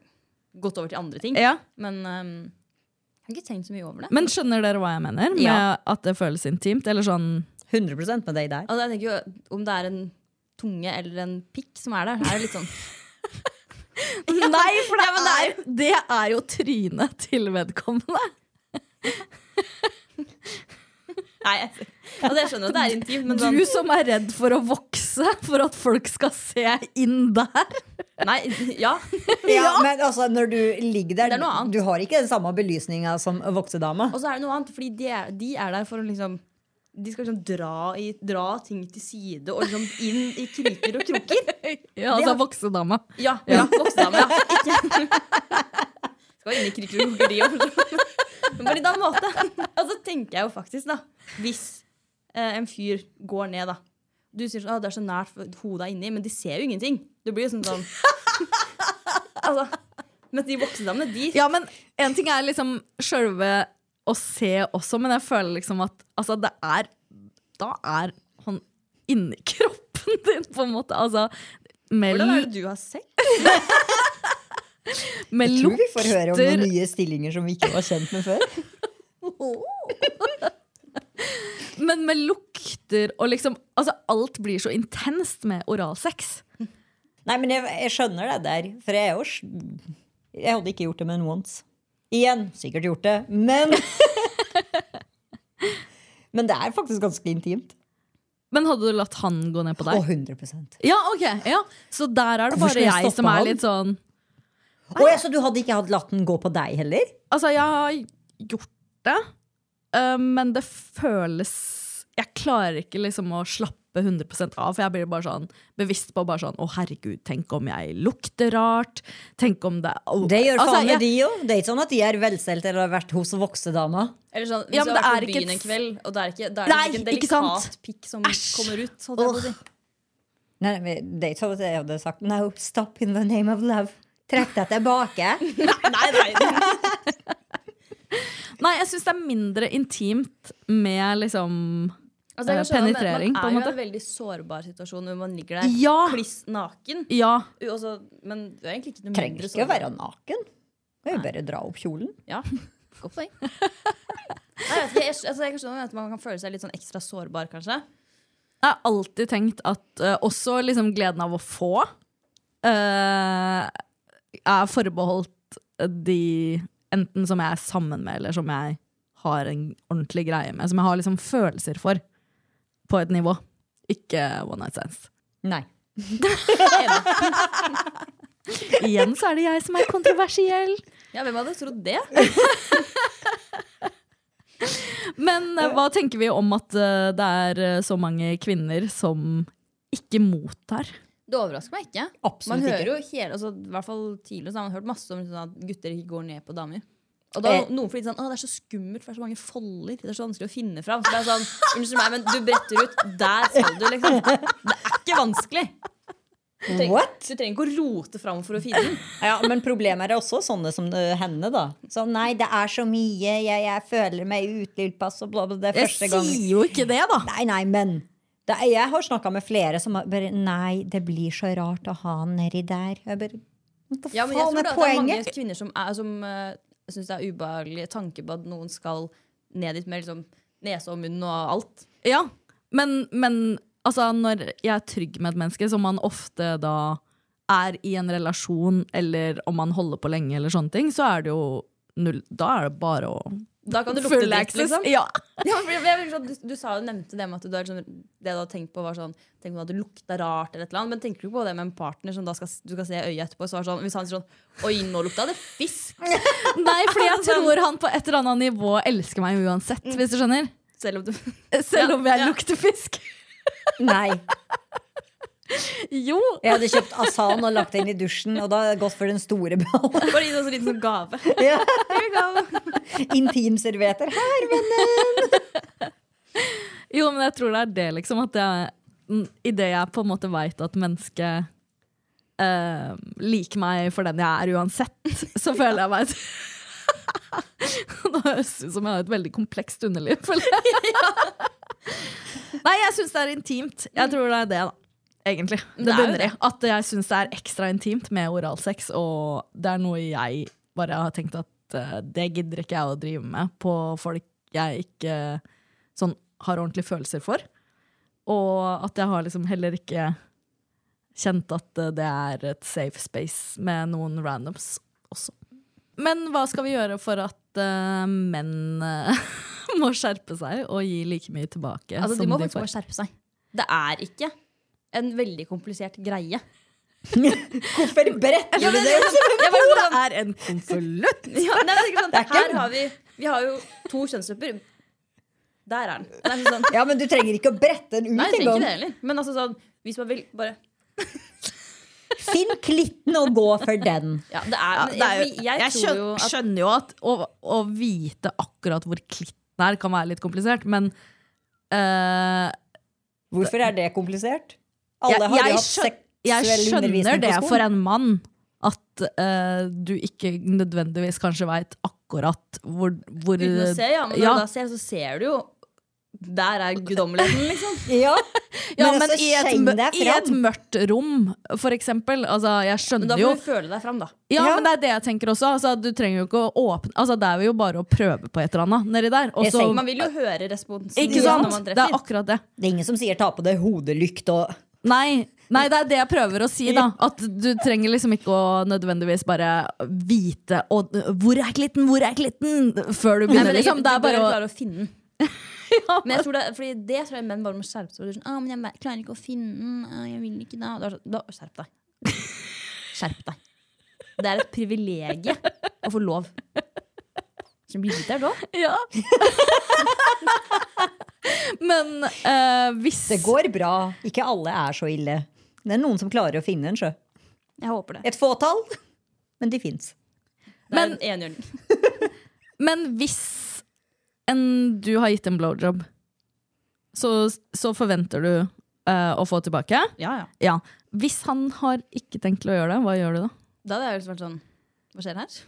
Speaker 3: gått over til andre ting.
Speaker 4: Ja,
Speaker 3: Men øhm, jeg har ikke tenkt så mye over det.
Speaker 4: Men skjønner dere hva jeg mener med
Speaker 3: Ja.
Speaker 4: at det føles intimt? Eller sånn
Speaker 2: 100 med deg der.
Speaker 3: Altså, jeg tenker jo Om det er en tunge eller en pikk som er der, er det litt sånn
Speaker 4: Nei, for det, er, det er jo trynet til vedkommende.
Speaker 3: Nei, jeg, altså, jeg skjønner at det er intimt, men sånn
Speaker 4: Du som er redd for å vokse, for at folk skal se inn der.
Speaker 3: Nei, ja.
Speaker 2: Ja, men altså, når du ligger der,
Speaker 3: Det er noe annet.
Speaker 2: du har ikke den samme belysninga som voksedama.
Speaker 3: Og så er det noe annet, fordi de er, de er der for å liksom De skal liksom dra, i, dra ting til side og liksom inn i kriker og kroker.
Speaker 4: Ja, altså voksedama.
Speaker 3: Ja, ja. voksedame. Ja. Ikke. altså, Skal inn i kriker og kroker, de òg. Men på en annen måte. Og så tenker jeg jo faktisk, da, hvis eh, en fyr går ned, da Du sier sånn, «Å, det er så nært for- hodet er inni, men de ser jo ingenting. Det blir jo sånn sånn Altså. Mens de voksedamene, de
Speaker 4: Ja, men en ting er liksom sjølve å se også, men jeg føler liksom at altså, det er Da er han inni kroppen din, på en måte. Altså med,
Speaker 3: Hvordan er det du har sex?
Speaker 4: med
Speaker 2: Jeg tror vi får høre om noen
Speaker 4: lukter
Speaker 2: nye stillinger som vi ikke var kjent med før.
Speaker 4: Men med lukter og liksom Altså, alt blir så intenst med oralsex.
Speaker 2: Nei, men jeg, jeg skjønner det der, for jeg er jo sj- Jeg hadde ikke gjort det med en once. Igjen, sikkert gjort det, men Men det er faktisk ganske intimt.
Speaker 4: Men hadde du latt han gå ned på
Speaker 2: Og
Speaker 4: deg?
Speaker 2: 100
Speaker 4: Ja, ok, ja. Så der er det
Speaker 2: Hvorfor
Speaker 4: bare
Speaker 2: skulle jeg
Speaker 4: jeg
Speaker 2: stoppe
Speaker 4: som er
Speaker 2: han?
Speaker 4: litt sånn
Speaker 2: Å ja, Så du hadde ikke hatt latt den gå på deg heller?
Speaker 4: Altså, jeg har gjort det, øh, men det føles Jeg klarer ikke liksom å slappe 100 av, for jeg blir bare sånn bevisst på bare sånn Å, herregud, tenk om jeg lukter rart? Tenk om det å,
Speaker 2: Det gjør
Speaker 4: altså,
Speaker 2: faen meg
Speaker 4: jeg-
Speaker 2: de jo. Det er ikke sånn at de er velstelt eller har vært hos voksedama.
Speaker 3: Eller sånn, hvis
Speaker 4: Ja,
Speaker 3: du har
Speaker 4: men
Speaker 3: vært
Speaker 4: det er
Speaker 3: på
Speaker 4: ikke
Speaker 3: byen
Speaker 4: et-
Speaker 3: en kveld, og det er ikke, da er det
Speaker 4: Nei,
Speaker 3: ikke en
Speaker 4: ikke
Speaker 3: delikat
Speaker 4: sant?
Speaker 3: pikk som kommer ut. holdt jeg på å si.
Speaker 2: Nei, nei, det er ikke sånn at jeg hadde sagt No, stop in the name of love. Trekk deg tilbake.
Speaker 3: Nei, nei,
Speaker 4: Nei, jeg syns det er mindre intimt med liksom
Speaker 3: Altså, jeg
Speaker 4: Eh,
Speaker 3: kan skjønne, men
Speaker 4: penetrering, på en
Speaker 3: Man er jo i
Speaker 4: måte.
Speaker 3: en veldig sårbar situasjon når man ligger der
Speaker 4: Ja.
Speaker 3: kliss naken.
Speaker 4: Ja.
Speaker 3: U- og så- men du er egentlig ikke noe
Speaker 2: Trenger
Speaker 3: mindre sånn
Speaker 2: ikke å
Speaker 3: sårbar.
Speaker 2: være naken. Kan jo bare dra opp kjolen.
Speaker 3: Ja, Godt poeng. Nei, jeg, vet ikke, jeg, skj- altså, jeg kan skjønne at man kan føle seg litt sånn ekstra sårbar, kanskje.
Speaker 4: Jeg har alltid tenkt at eh, også liksom gleden av å få eh, er forbeholdt de enten som jeg er sammen med, eller som jeg har en ordentlig greie med. Som jeg har liksom følelser for på et nivå. Ikke one night stands.
Speaker 2: Nei.
Speaker 4: Igjen så er det jeg som er kontroversiell.
Speaker 3: Ja, Hvem hadde trodd det?
Speaker 4: Men eh, hva tenker vi om at eh, det er eh, så mange kvinner som ikke mottar?
Speaker 3: Det overrasker meg ikke.
Speaker 2: Absolutt
Speaker 3: man hører
Speaker 2: ikke.
Speaker 3: jo hele, altså, i hvert fall tidligere så har man hørt masse om sånn at gutter ikke går ned på damer. Og da
Speaker 2: Eh.
Speaker 3: noen fordi sånn, å, Det er så skummelt, for det er så mange folder. Det er så vanskelig å finne fram. Så det er sånn, Unnskyld meg, men du bretter ut. Der skal du, liksom. Det er ikke vanskelig. Du trenger,
Speaker 2: What?
Speaker 3: du trenger ikke å rote fram for å finne den.
Speaker 2: Ja, Men problemet er også sånne som det- henne, da. Sånn, nei, det er så mye, jeg, jeg føler meg utilpass og bla, bla, det er
Speaker 4: Jeg
Speaker 2: første gang.
Speaker 4: sier jo ikke det, da!
Speaker 2: Nei, nei, men. Det er, jeg har snakka med flere som har bare Nei, det blir så rart å ha han nedi der. Jeg bare, men Hva
Speaker 3: Ja, men jeg
Speaker 2: faen
Speaker 3: tror
Speaker 2: er
Speaker 3: det, det er mange
Speaker 2: poenget?
Speaker 3: kvinner som, er- som eh, syns det er ubehagelig tanke på at noen skal ned dit med liksom, nese og munn og alt.
Speaker 4: Ja, men, men Altså, når jeg er trygg med et menneske, som man ofte da er i en relasjon, eller om man holder på lenge, eller sånne ting, så er det jo null Da er det bare å
Speaker 3: Da kan du lukte
Speaker 4: Full
Speaker 3: dritt,
Speaker 4: access,
Speaker 3: liksom.
Speaker 4: Ja.
Speaker 3: Ja, for jeg- jeg- sånn, du, du sa jo nevnte det med at du, er sånn, det du hadde tenkt på, var sånn Tenk om det hadde lukta rart, eller et eller annet. Men tenker du ikke på det med en partner som da skal, du skal se i øyet etterpå? Så er det sånn, hvis han sier sånn Oi, nå lukta det fisk!
Speaker 4: Nei, fordi jeg tror han på et eller annet nivå elsker meg uansett, hvis du skjønner.
Speaker 3: Selv om du
Speaker 4: Selv om jeg
Speaker 3: Ja.
Speaker 4: lukter fisk.
Speaker 2: Nei.
Speaker 4: Jo!
Speaker 2: Jeg hadde kjøpt asan og lagt det inn i dusjen, og da hadde jeg gått for den store ballen.
Speaker 3: Bare gi det en liten sånn gave.
Speaker 2: Ja.
Speaker 3: Here you go.
Speaker 2: Intimservietter. Her, venn!
Speaker 4: Jo, men jeg tror det er det, liksom. At jeg, mm, i det jeg på en måte veit at mennesket eh, liker meg for den jeg er uansett, så føler jeg meg Nå høres det ut som jeg har et veldig komplekst underliv. føler jeg. Nei, jeg syns det er intimt. Jeg tror det er det, da. Egentlig. Det
Speaker 3: er jo
Speaker 4: bunner i at jeg syns det er ekstra intimt med oralsex, og det er noe jeg bare har tenkt at eh, det gidder ikke jeg å drive med på folk jeg ikke sånn har ordentlige følelser for. Og at jeg har liksom heller ikke kjent at eh, det er et safe space med noen randoms også. Men hva skal vi gjøre for at eh, menn eh, må skjerpe seg og gi like mye tilbake?
Speaker 3: Altså, de
Speaker 4: som
Speaker 3: må
Speaker 4: de
Speaker 3: faktisk bare
Speaker 4: får?
Speaker 3: skjerpe seg. Det er ikke en veldig komplisert greie.
Speaker 2: Hvorfor bretter du det?
Speaker 3: Jeg bare,
Speaker 4: Det er en konvolutt!
Speaker 3: ja, nei, det er ikke sånn,
Speaker 2: Det er ikke
Speaker 3: her
Speaker 2: en-
Speaker 3: har vi, vi har jo to kjønnsgrupper. Der er den. Det er ikke sånn,
Speaker 2: Ja, men du trenger ikke å brette den
Speaker 3: nei,
Speaker 2: ut
Speaker 3: jeg trenger ikke
Speaker 2: engang.
Speaker 3: det heller. Men altså sånn, hvis man vil bare
Speaker 2: Finn klitten og gå for den.
Speaker 3: Ja, det er, men jeg, jeg,
Speaker 4: jeg
Speaker 3: tror jo at
Speaker 4: skjønner jo at å, å vite akkurat hvor klitten er, kan være litt komplisert, men eh,
Speaker 2: Hvorfor er det komplisert?
Speaker 4: Jeg-
Speaker 2: Alle har
Speaker 4: jeg
Speaker 2: jo hatt
Speaker 4: skjøn-
Speaker 2: seksuell
Speaker 4: Jeg skjønner
Speaker 2: undervisning
Speaker 4: det
Speaker 2: på skolen.
Speaker 4: for en mann. At eh, du ikke nødvendigvis kanskje veit akkurat hvor, hvor
Speaker 3: uten å se, ja, men når
Speaker 4: Ja.
Speaker 3: du da ser, så ser du jo Der er guddommeligheten, liksom.
Speaker 2: Ja,
Speaker 4: Ja,
Speaker 2: men,
Speaker 4: men
Speaker 2: altså,
Speaker 4: i, et,
Speaker 2: skjeng
Speaker 4: mø-
Speaker 2: deg
Speaker 4: i et
Speaker 2: fram.
Speaker 4: mørkt rom, for eksempel. Altså, jeg
Speaker 3: Men da
Speaker 4: skjønner jo
Speaker 3: får du føle deg fram, da.
Speaker 4: ja,
Speaker 2: Ja.
Speaker 4: men Det er det jeg tenker også. Altså, du trenger jo ikke å åpne altså, Det er jo bare å prøve på et eller annet nedi der. Og
Speaker 2: Jeg
Speaker 4: så,
Speaker 2: tenker
Speaker 3: Man vil jo høre responsen ja,
Speaker 4: ikke
Speaker 3: når
Speaker 4: sant?
Speaker 3: man
Speaker 4: Det er
Speaker 3: treffer.
Speaker 4: akkurat det.
Speaker 2: Det er ingen som sier ta på deg hodelykt og
Speaker 4: Nei, nei, det er det jeg prøver å si. da At Du trenger liksom ikke å nødvendigvis bare vite og, 'hvor er klitten', 'hvor er klitten' før du
Speaker 3: Nei,
Speaker 4: begynner.
Speaker 3: men
Speaker 4: liksom. Det er bare å
Speaker 3: klare å finne den. Men jeg tror det, fordi det tror jeg menn bare må skjerpe seg. og det er Sånn, ah, men jeg mer- klarer ikke å finne den. Ah, jeg vil ikke da. Da, er det sånn, da skjerp deg. Skjerp deg. Det er et privilegium å få lov. Som blir der da.
Speaker 4: Ja. Men eh, hvis
Speaker 2: Det går bra. Ikke alle er så ille. Det er noen som klarer å finne en sjø.
Speaker 3: Jeg håper det.
Speaker 2: Et fåtall, men de fins.
Speaker 3: Det er en enhjørning.
Speaker 4: Men hvis en, du har gitt en blowjob, så, så forventer du eh, å få tilbake.
Speaker 3: Ja, ja.
Speaker 4: Ja. Hvis han har ikke tenkt til å gjøre det, hva gjør du da?
Speaker 3: Da hadde jeg liksom vært sånn Hva skjer her?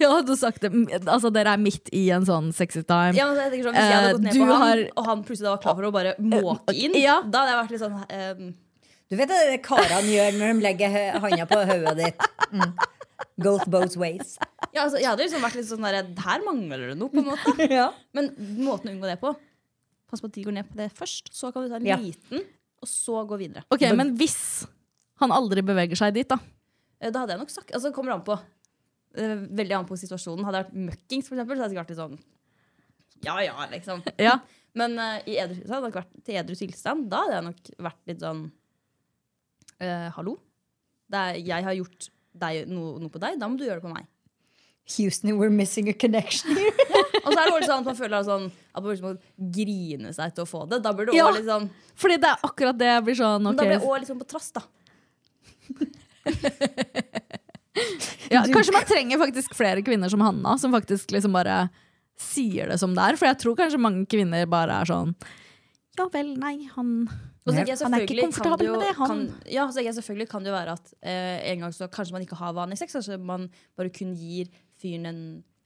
Speaker 4: Ja, du har sagt det. Altså, dere er midt i en sånn sexy time.
Speaker 3: Ja, men jeg tenker sånn, hvis jeg hadde gått ned på
Speaker 4: Eh, du
Speaker 3: han,
Speaker 4: har- Eh,
Speaker 3: og han plutselig da var klar for å bare måke inn,
Speaker 4: ja.
Speaker 3: da hadde jeg vært litt sånn ehm,
Speaker 2: Du vet det det karene gjør når de legger hø- handa på hodet ditt? Mm. Goes both ways.
Speaker 3: Ja, altså, jeg hadde liksom vært litt sånn der Her mangler det noe, på en måte.
Speaker 2: Ja.
Speaker 3: Men måten å unngå det på Pass på at de går ned på det først, så kan du ta en
Speaker 2: Ja.
Speaker 3: liten, og så gå videre.
Speaker 4: Ok, men hvis han aldri beveger seg dit, da?
Speaker 3: Eh, Da hadde jeg nok sagt Altså, det kommer an på. eh, Veldig an på situasjonen. Hadde jeg vært møkkings, for eksempel, så hadde jeg sikkert vært litt sånn Ja ja, liksom.
Speaker 4: Ja.
Speaker 3: Men eh, i edru, så hadde jeg nok vært, til edru tilstand, da hadde jeg nok vært litt sånn eh, Hallo? Det er, jeg har gjort deg, noe, noe på deg, da må du gjøre det på meg.
Speaker 2: Houston, we're missing a connection here.
Speaker 3: Og så er det også sånn at man føler sånn, at man liksom må grine seg til å få det. Da burde det
Speaker 4: Ja.
Speaker 3: også litt sånn
Speaker 4: Fordi det er akkurat det jeg blir sånn
Speaker 3: Men
Speaker 4: ok.
Speaker 3: Da ble jeg òg liksom på trass, da.
Speaker 4: ja, Kanskje man trenger faktisk flere kvinner som Hanna, som faktisk liksom bare sier det som det er. For jeg tror kanskje mange kvinner bare er sånn Ja vel, nei, han
Speaker 3: Og så tenker jeg
Speaker 4: Han er ikke
Speaker 3: selvfølgelig kan
Speaker 4: komfortabel
Speaker 3: jo-
Speaker 4: med det, han.
Speaker 3: Kan, ja, så tenker jeg selvfølgelig kan det jo være at eh, en gang så kanskje man ikke har vanlig sex. Kanskje man bare kun gir fyren en,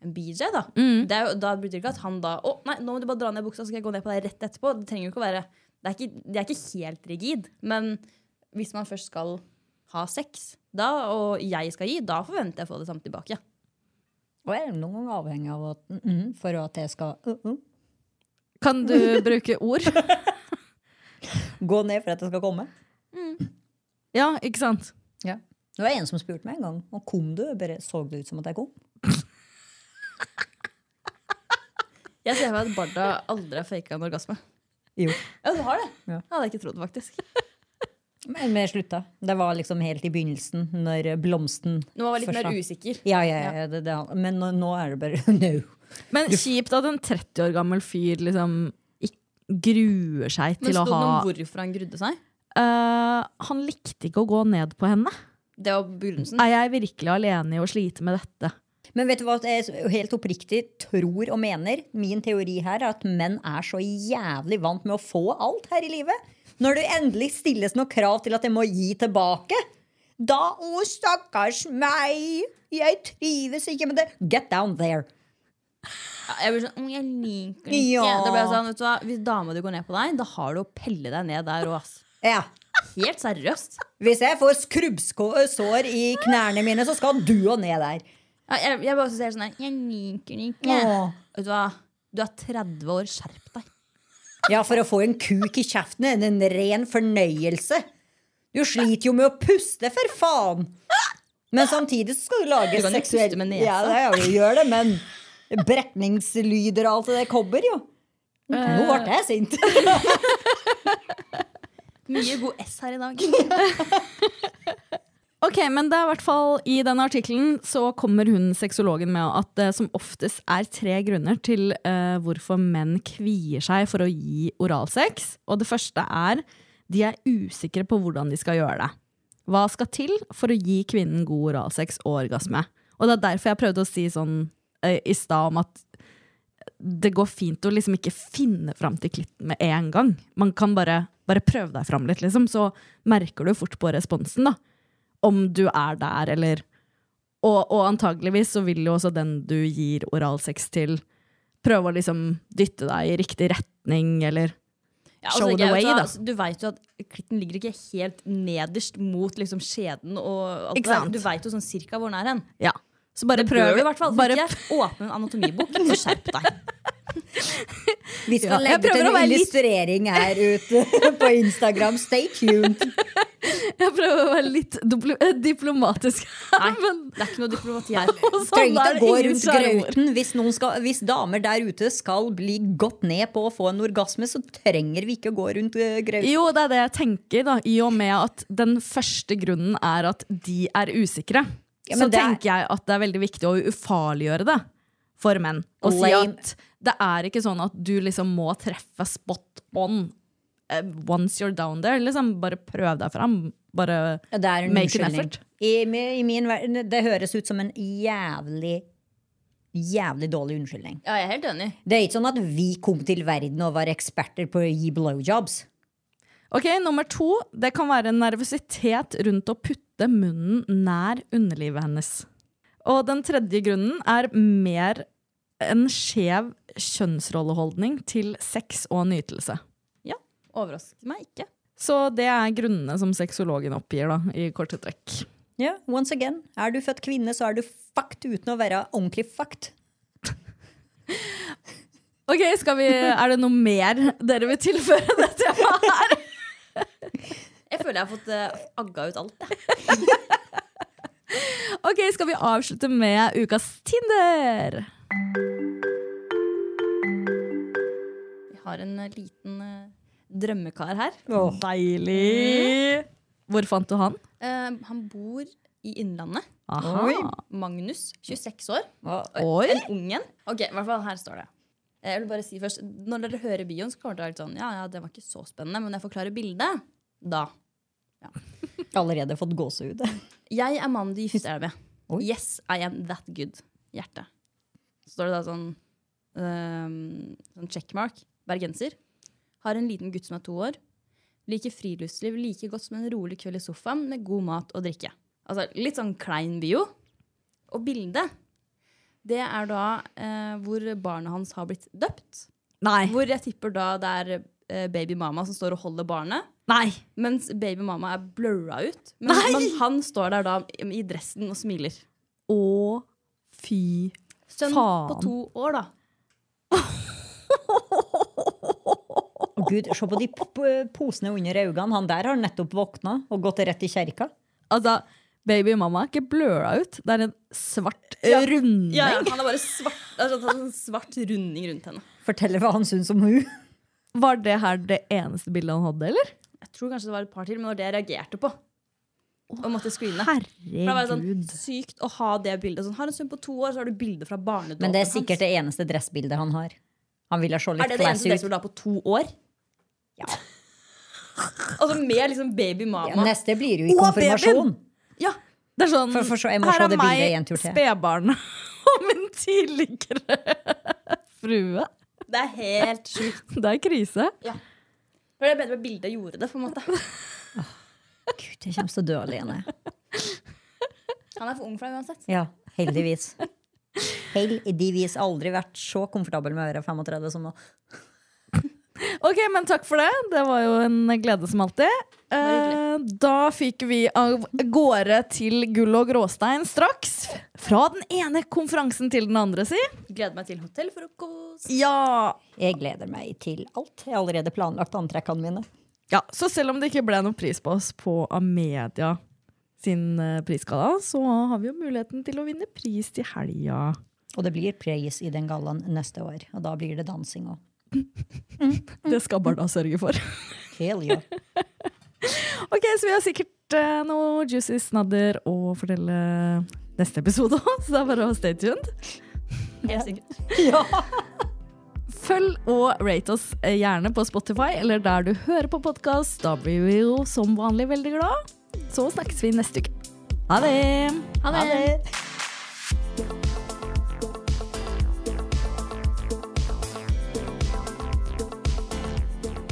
Speaker 3: en BJ, da.
Speaker 4: Mm.
Speaker 3: Det er jo, da betyr det ikke at han da Å, nei, nå må du bare dra ned buksa, så skal jeg gå ned på deg rett etterpå. Det trenger jo ikke å være Det er ikke, det er ikke helt rigid. Men hvis man først skal ha sex, da, og jeg skal gi, da forventer jeg å få det samme tilbake.
Speaker 2: Og jeg er noen ganger avhengig av Mm-hmm, Uh-uh. at mm, mm, for at jeg skal uh, uh.
Speaker 4: Kan du bruke ord?
Speaker 2: Gå ned for at det skal komme.
Speaker 4: Ja, ikke sant?
Speaker 2: Det var en som spurte meg en gang om kom du bare så det ut som at jeg kom.
Speaker 3: Jeg ser for meg at Barda aldri har faka en orgasme.
Speaker 2: Jo.
Speaker 3: Ja, du har det?
Speaker 2: Ja.
Speaker 3: Det hadde jeg ikke trodd, faktisk.
Speaker 2: Men vi slutta. Det var liksom helt i begynnelsen, når blomsten
Speaker 3: Nå var jeg litt
Speaker 2: Først
Speaker 3: mer
Speaker 2: da.
Speaker 3: usikker.
Speaker 2: Ja, ja, ja, det, det, men nå, nå er det bare no.
Speaker 4: Men kjipt at en 30 år gammel fyr liksom ikk- gruer seg
Speaker 3: Men
Speaker 4: til
Speaker 3: sto
Speaker 4: å
Speaker 3: det
Speaker 4: ha
Speaker 3: noe om hvorfor han grudde seg?
Speaker 4: Eh, Han likte ikke å gå ned på henne.
Speaker 3: Det var begrunnelsen.
Speaker 4: Er jeg virkelig alene i å slite med dette?
Speaker 2: Men vet du hva jeg helt oppriktig tror og mener? Min teori her er at menn er så jævlig vant med å få alt her i livet. Når det endelig stilles noen krav til at jeg må gi tilbake, da Å, stakkars meg! Jeg trives ikke med det. Get down there.
Speaker 3: Ja, Jeg blir sånn, «Å, jeg liker det ikke.
Speaker 2: Ja.
Speaker 3: Da ble jeg sånn, vet du hva, Hvis dama di går ned på deg, da har du å pelle deg ned der òg, ass.
Speaker 2: Ja.
Speaker 3: Helt seriøst.
Speaker 2: Hvis jeg får skrubbsår i knærne mine, så skal du og ned der.
Speaker 3: Ja, jeg, jeg bare ser sånn her Jeg liker det ikke.
Speaker 2: Åh.
Speaker 3: Vet du hva, du er 30 år, skjerp deg.
Speaker 2: Ja, for å få en kuk i kjeften er det en ren fornøyelse. Du sliter jo med å puste, for faen! Men samtidig så skal du lage
Speaker 3: Du kan jo puste med nesa.
Speaker 2: Ja, det er jo- gjør det, men brekningslyder og alt det der kommer jo. Nå ble jeg sint.
Speaker 3: Mye god S her i dag.
Speaker 4: Ok, men det er i hvert fall I denne artikkelen så kommer hun sexologen med at det som oftest er tre grunner til eh, hvorfor menn kvier seg for å gi oralsex. Og det første er de er usikre på hvordan de skal gjøre det. Hva skal til for å gi kvinnen god oralsex og orgasme? Og det er derfor jeg prøvde å si sånn eh, i stad om at det går fint å liksom ikke finne fram til klitten med en gang. Man kan bare, bare prøve deg fram litt, liksom. Så merker du fort på responsen, da om du er der, eller og, og antageligvis så vil jo også den du gir oralsex til, prøve å liksom dytte deg i riktig retning, eller
Speaker 3: Ja, og så
Speaker 4: Show
Speaker 3: tenker
Speaker 4: the
Speaker 3: jeg,
Speaker 4: way,
Speaker 3: vet du,
Speaker 4: da.
Speaker 3: hva, du vet jo at klitten ligger ikke helt nederst mot liksom, skjeden. Og alt
Speaker 4: Ikke
Speaker 3: det der.
Speaker 4: sant?
Speaker 3: Du vet jo sånn cirka hvor den er hen.
Speaker 4: Ja. Så bare
Speaker 3: Det
Speaker 4: prøv.
Speaker 3: bør du i hvert fall.
Speaker 4: Bare,
Speaker 3: Ikke åpne en anatomibok, så skjerp deg.
Speaker 2: Vi skal
Speaker 4: Ja, jeg
Speaker 2: legge ut
Speaker 4: prøver å
Speaker 2: en
Speaker 4: være litt-
Speaker 2: illustrering her ute på Instagram. Stay tuned.
Speaker 4: jeg prøver å være litt dupl- eh, diplomatisk.
Speaker 3: Nei,
Speaker 4: men
Speaker 3: det er ikke noe diplomati her.
Speaker 4: og sånn
Speaker 2: Trengte
Speaker 4: er
Speaker 2: å
Speaker 4: det
Speaker 2: gå
Speaker 4: ingen
Speaker 2: rundt
Speaker 4: klare ord.
Speaker 2: grauten. Hvis, noen skal, hvis damer der ute skal bli gått ned på å få en orgasme, så trenger vi ikke å gå rundt eh, grauten.
Speaker 4: Jo, det er det jeg tenker, da, i og med at den første grunnen er at de er usikre.
Speaker 2: Ja,
Speaker 4: så
Speaker 2: men det er-
Speaker 4: tenker jeg at det er veldig viktig å ufarliggjøre det for menn. Og si
Speaker 2: Lame.
Speaker 4: at det er ikke sånn at du liksom må treffe spot on eh, once you're down there. Liksom bare prøv deg fram. Bare
Speaker 2: Ja, Det er en
Speaker 4: Make an
Speaker 2: unnskyldning.
Speaker 4: effort.
Speaker 2: I, mi- I min verden, det høres ut som en jævlig Jævlig dårlig unnskyldning.
Speaker 3: Ja, jeg er helt enig.
Speaker 2: Det er ikke sånn at vi kom til verden og var eksperter på å gi blowjobs.
Speaker 4: Ok, Nummer to det kan være nervøsitet rundt å putte munnen nær underlivet hennes. Og den tredje grunnen er mer en skjev kjønnsrolleholdning til sex og nytelse.
Speaker 3: Overrasker meg ikke.
Speaker 4: Så det er grunnene som sexologen oppgir, da, i korte trekk.
Speaker 2: Ja, once again, Er du født kvinne, så er du fucked uten å være ordentlig fucked.
Speaker 4: Ok, skal vi, Er det noe mer dere vil tilføre det temaet her?
Speaker 3: Jeg føler jeg har fått eh, agga ut alt. jeg.
Speaker 4: Ok, Skal vi avslutte med ukas Tinder?
Speaker 3: Vi har en eh, liten eh, drømmekar her.
Speaker 4: Deilig! Hvor fant du han?
Speaker 3: Eh, han bor i Innlandet.
Speaker 4: Aha.
Speaker 3: Magnus, 26 år.
Speaker 4: Oi.
Speaker 3: En ung en. Ok, i hvert fall her står det. Eh, Jeg vil bare si først, Når dere hører bioen, så kommer det til å være litt sånn Ja, ja, det var ikke så spennende, men når jeg forklarer bildet, da.
Speaker 2: Allerede fått gåsehud.
Speaker 3: Jeg er mannen du gifter deg med.
Speaker 2: Oi.
Speaker 3: Yes, I am that good. Hjerte. Så står det da sånn, ehm, sånn checkmark. Bergenser. Har en liten gutt som er to år. Liker friluftsliv like godt som en rolig kveld i sofaen med god mat og drikke. Altså litt sånn klein bio. Og bildet, det er da eh, hvor barnet hans har blitt døpt.
Speaker 4: Nei.
Speaker 3: Hvor jeg tipper da det er eh, babymamma som står og holder barnet.
Speaker 4: Nei.
Speaker 3: Mens babymamma er blurra ut. Men, men han står der da i dressen og smiler.
Speaker 4: Å, fy
Speaker 3: Sønn
Speaker 4: Faen.
Speaker 3: på to år, da.
Speaker 2: Å gud, Se på de p- p- posene under øynene. Han der har nettopp våkna og gått rett i kjerka.
Speaker 4: Altså, baby mamma er ikke bløla ut. Det er en svart runding.
Speaker 3: Ja, ja, han har bare svart, altså, han har sånn svart runding rundt henne.
Speaker 2: Forteller hva han syns om hun.
Speaker 4: Var det her det eneste bildet han hadde, eller?
Speaker 3: Jeg tror kanskje det var et par til, men det var det jeg reagerte på. Og måtte screene. For det var sånn
Speaker 4: Herregud.
Speaker 3: sykt å ha det bildet. Sånn, har en sønn på to år, så har du bilde fra barnedåpen
Speaker 2: Men det er
Speaker 3: hans.
Speaker 2: sikkert det eneste dressbildet han har. Han ville se
Speaker 3: Er
Speaker 2: litt
Speaker 3: det det
Speaker 2: class
Speaker 3: eneste dere
Speaker 2: ut.
Speaker 3: vil ha på to år? Ja. altså med liksom baby mama.
Speaker 2: Neste blir jo i
Speaker 4: Å,
Speaker 2: konfirmasjon.
Speaker 4: babyen! Det er sånn,
Speaker 2: For- for så- jeg må
Speaker 4: her
Speaker 2: se
Speaker 4: er
Speaker 2: det bildet en
Speaker 4: meg,
Speaker 2: tur til.
Speaker 4: spedbarnet, og min tidligere frue.
Speaker 3: Det er helt sjukt.
Speaker 4: Det er krise.
Speaker 3: Det er bedre at bildet gjorde det. på en måte.
Speaker 2: Gud, jeg kommer til å dø alene.
Speaker 3: Han er for ung for deg uansett.
Speaker 2: Ja, heldigvis. Heldigvis aldri vært så komfortabel med å være 35 som nå.
Speaker 4: Ok, men takk for det. Det var jo en glede som alltid. Eh, da fikk vi av gårde til gull og gråstein straks. Fra den ene konferansen til den andre, si.
Speaker 3: Gleder meg til hotellfrokost.
Speaker 4: Ja.
Speaker 2: Jeg gleder meg til alt. Jeg har allerede planlagt antrekkene mine.
Speaker 4: ja. Så selv om det ikke ble noen pris på oss på Amedia sin eh, prisgalla, så har vi jo muligheten til å vinne pris til helga.
Speaker 2: Og det blir pris i den gallaen neste år. Og da blir det dansing òg.
Speaker 4: Det skal Barda sørge for.
Speaker 2: Hell yeah.
Speaker 4: Ok, så vi har sikkert eh, noe juicy snadder å fortelle neste episode òg, så det er bare å stay tuned.
Speaker 3: Helt sikkert.
Speaker 4: Følg og rate oss eh, gjerne på Spotify eller der du hører på podkast. Da blir vi jo som vanlig veldig glad. Så snakkes vi neste uke. Ha det!
Speaker 3: Ha det.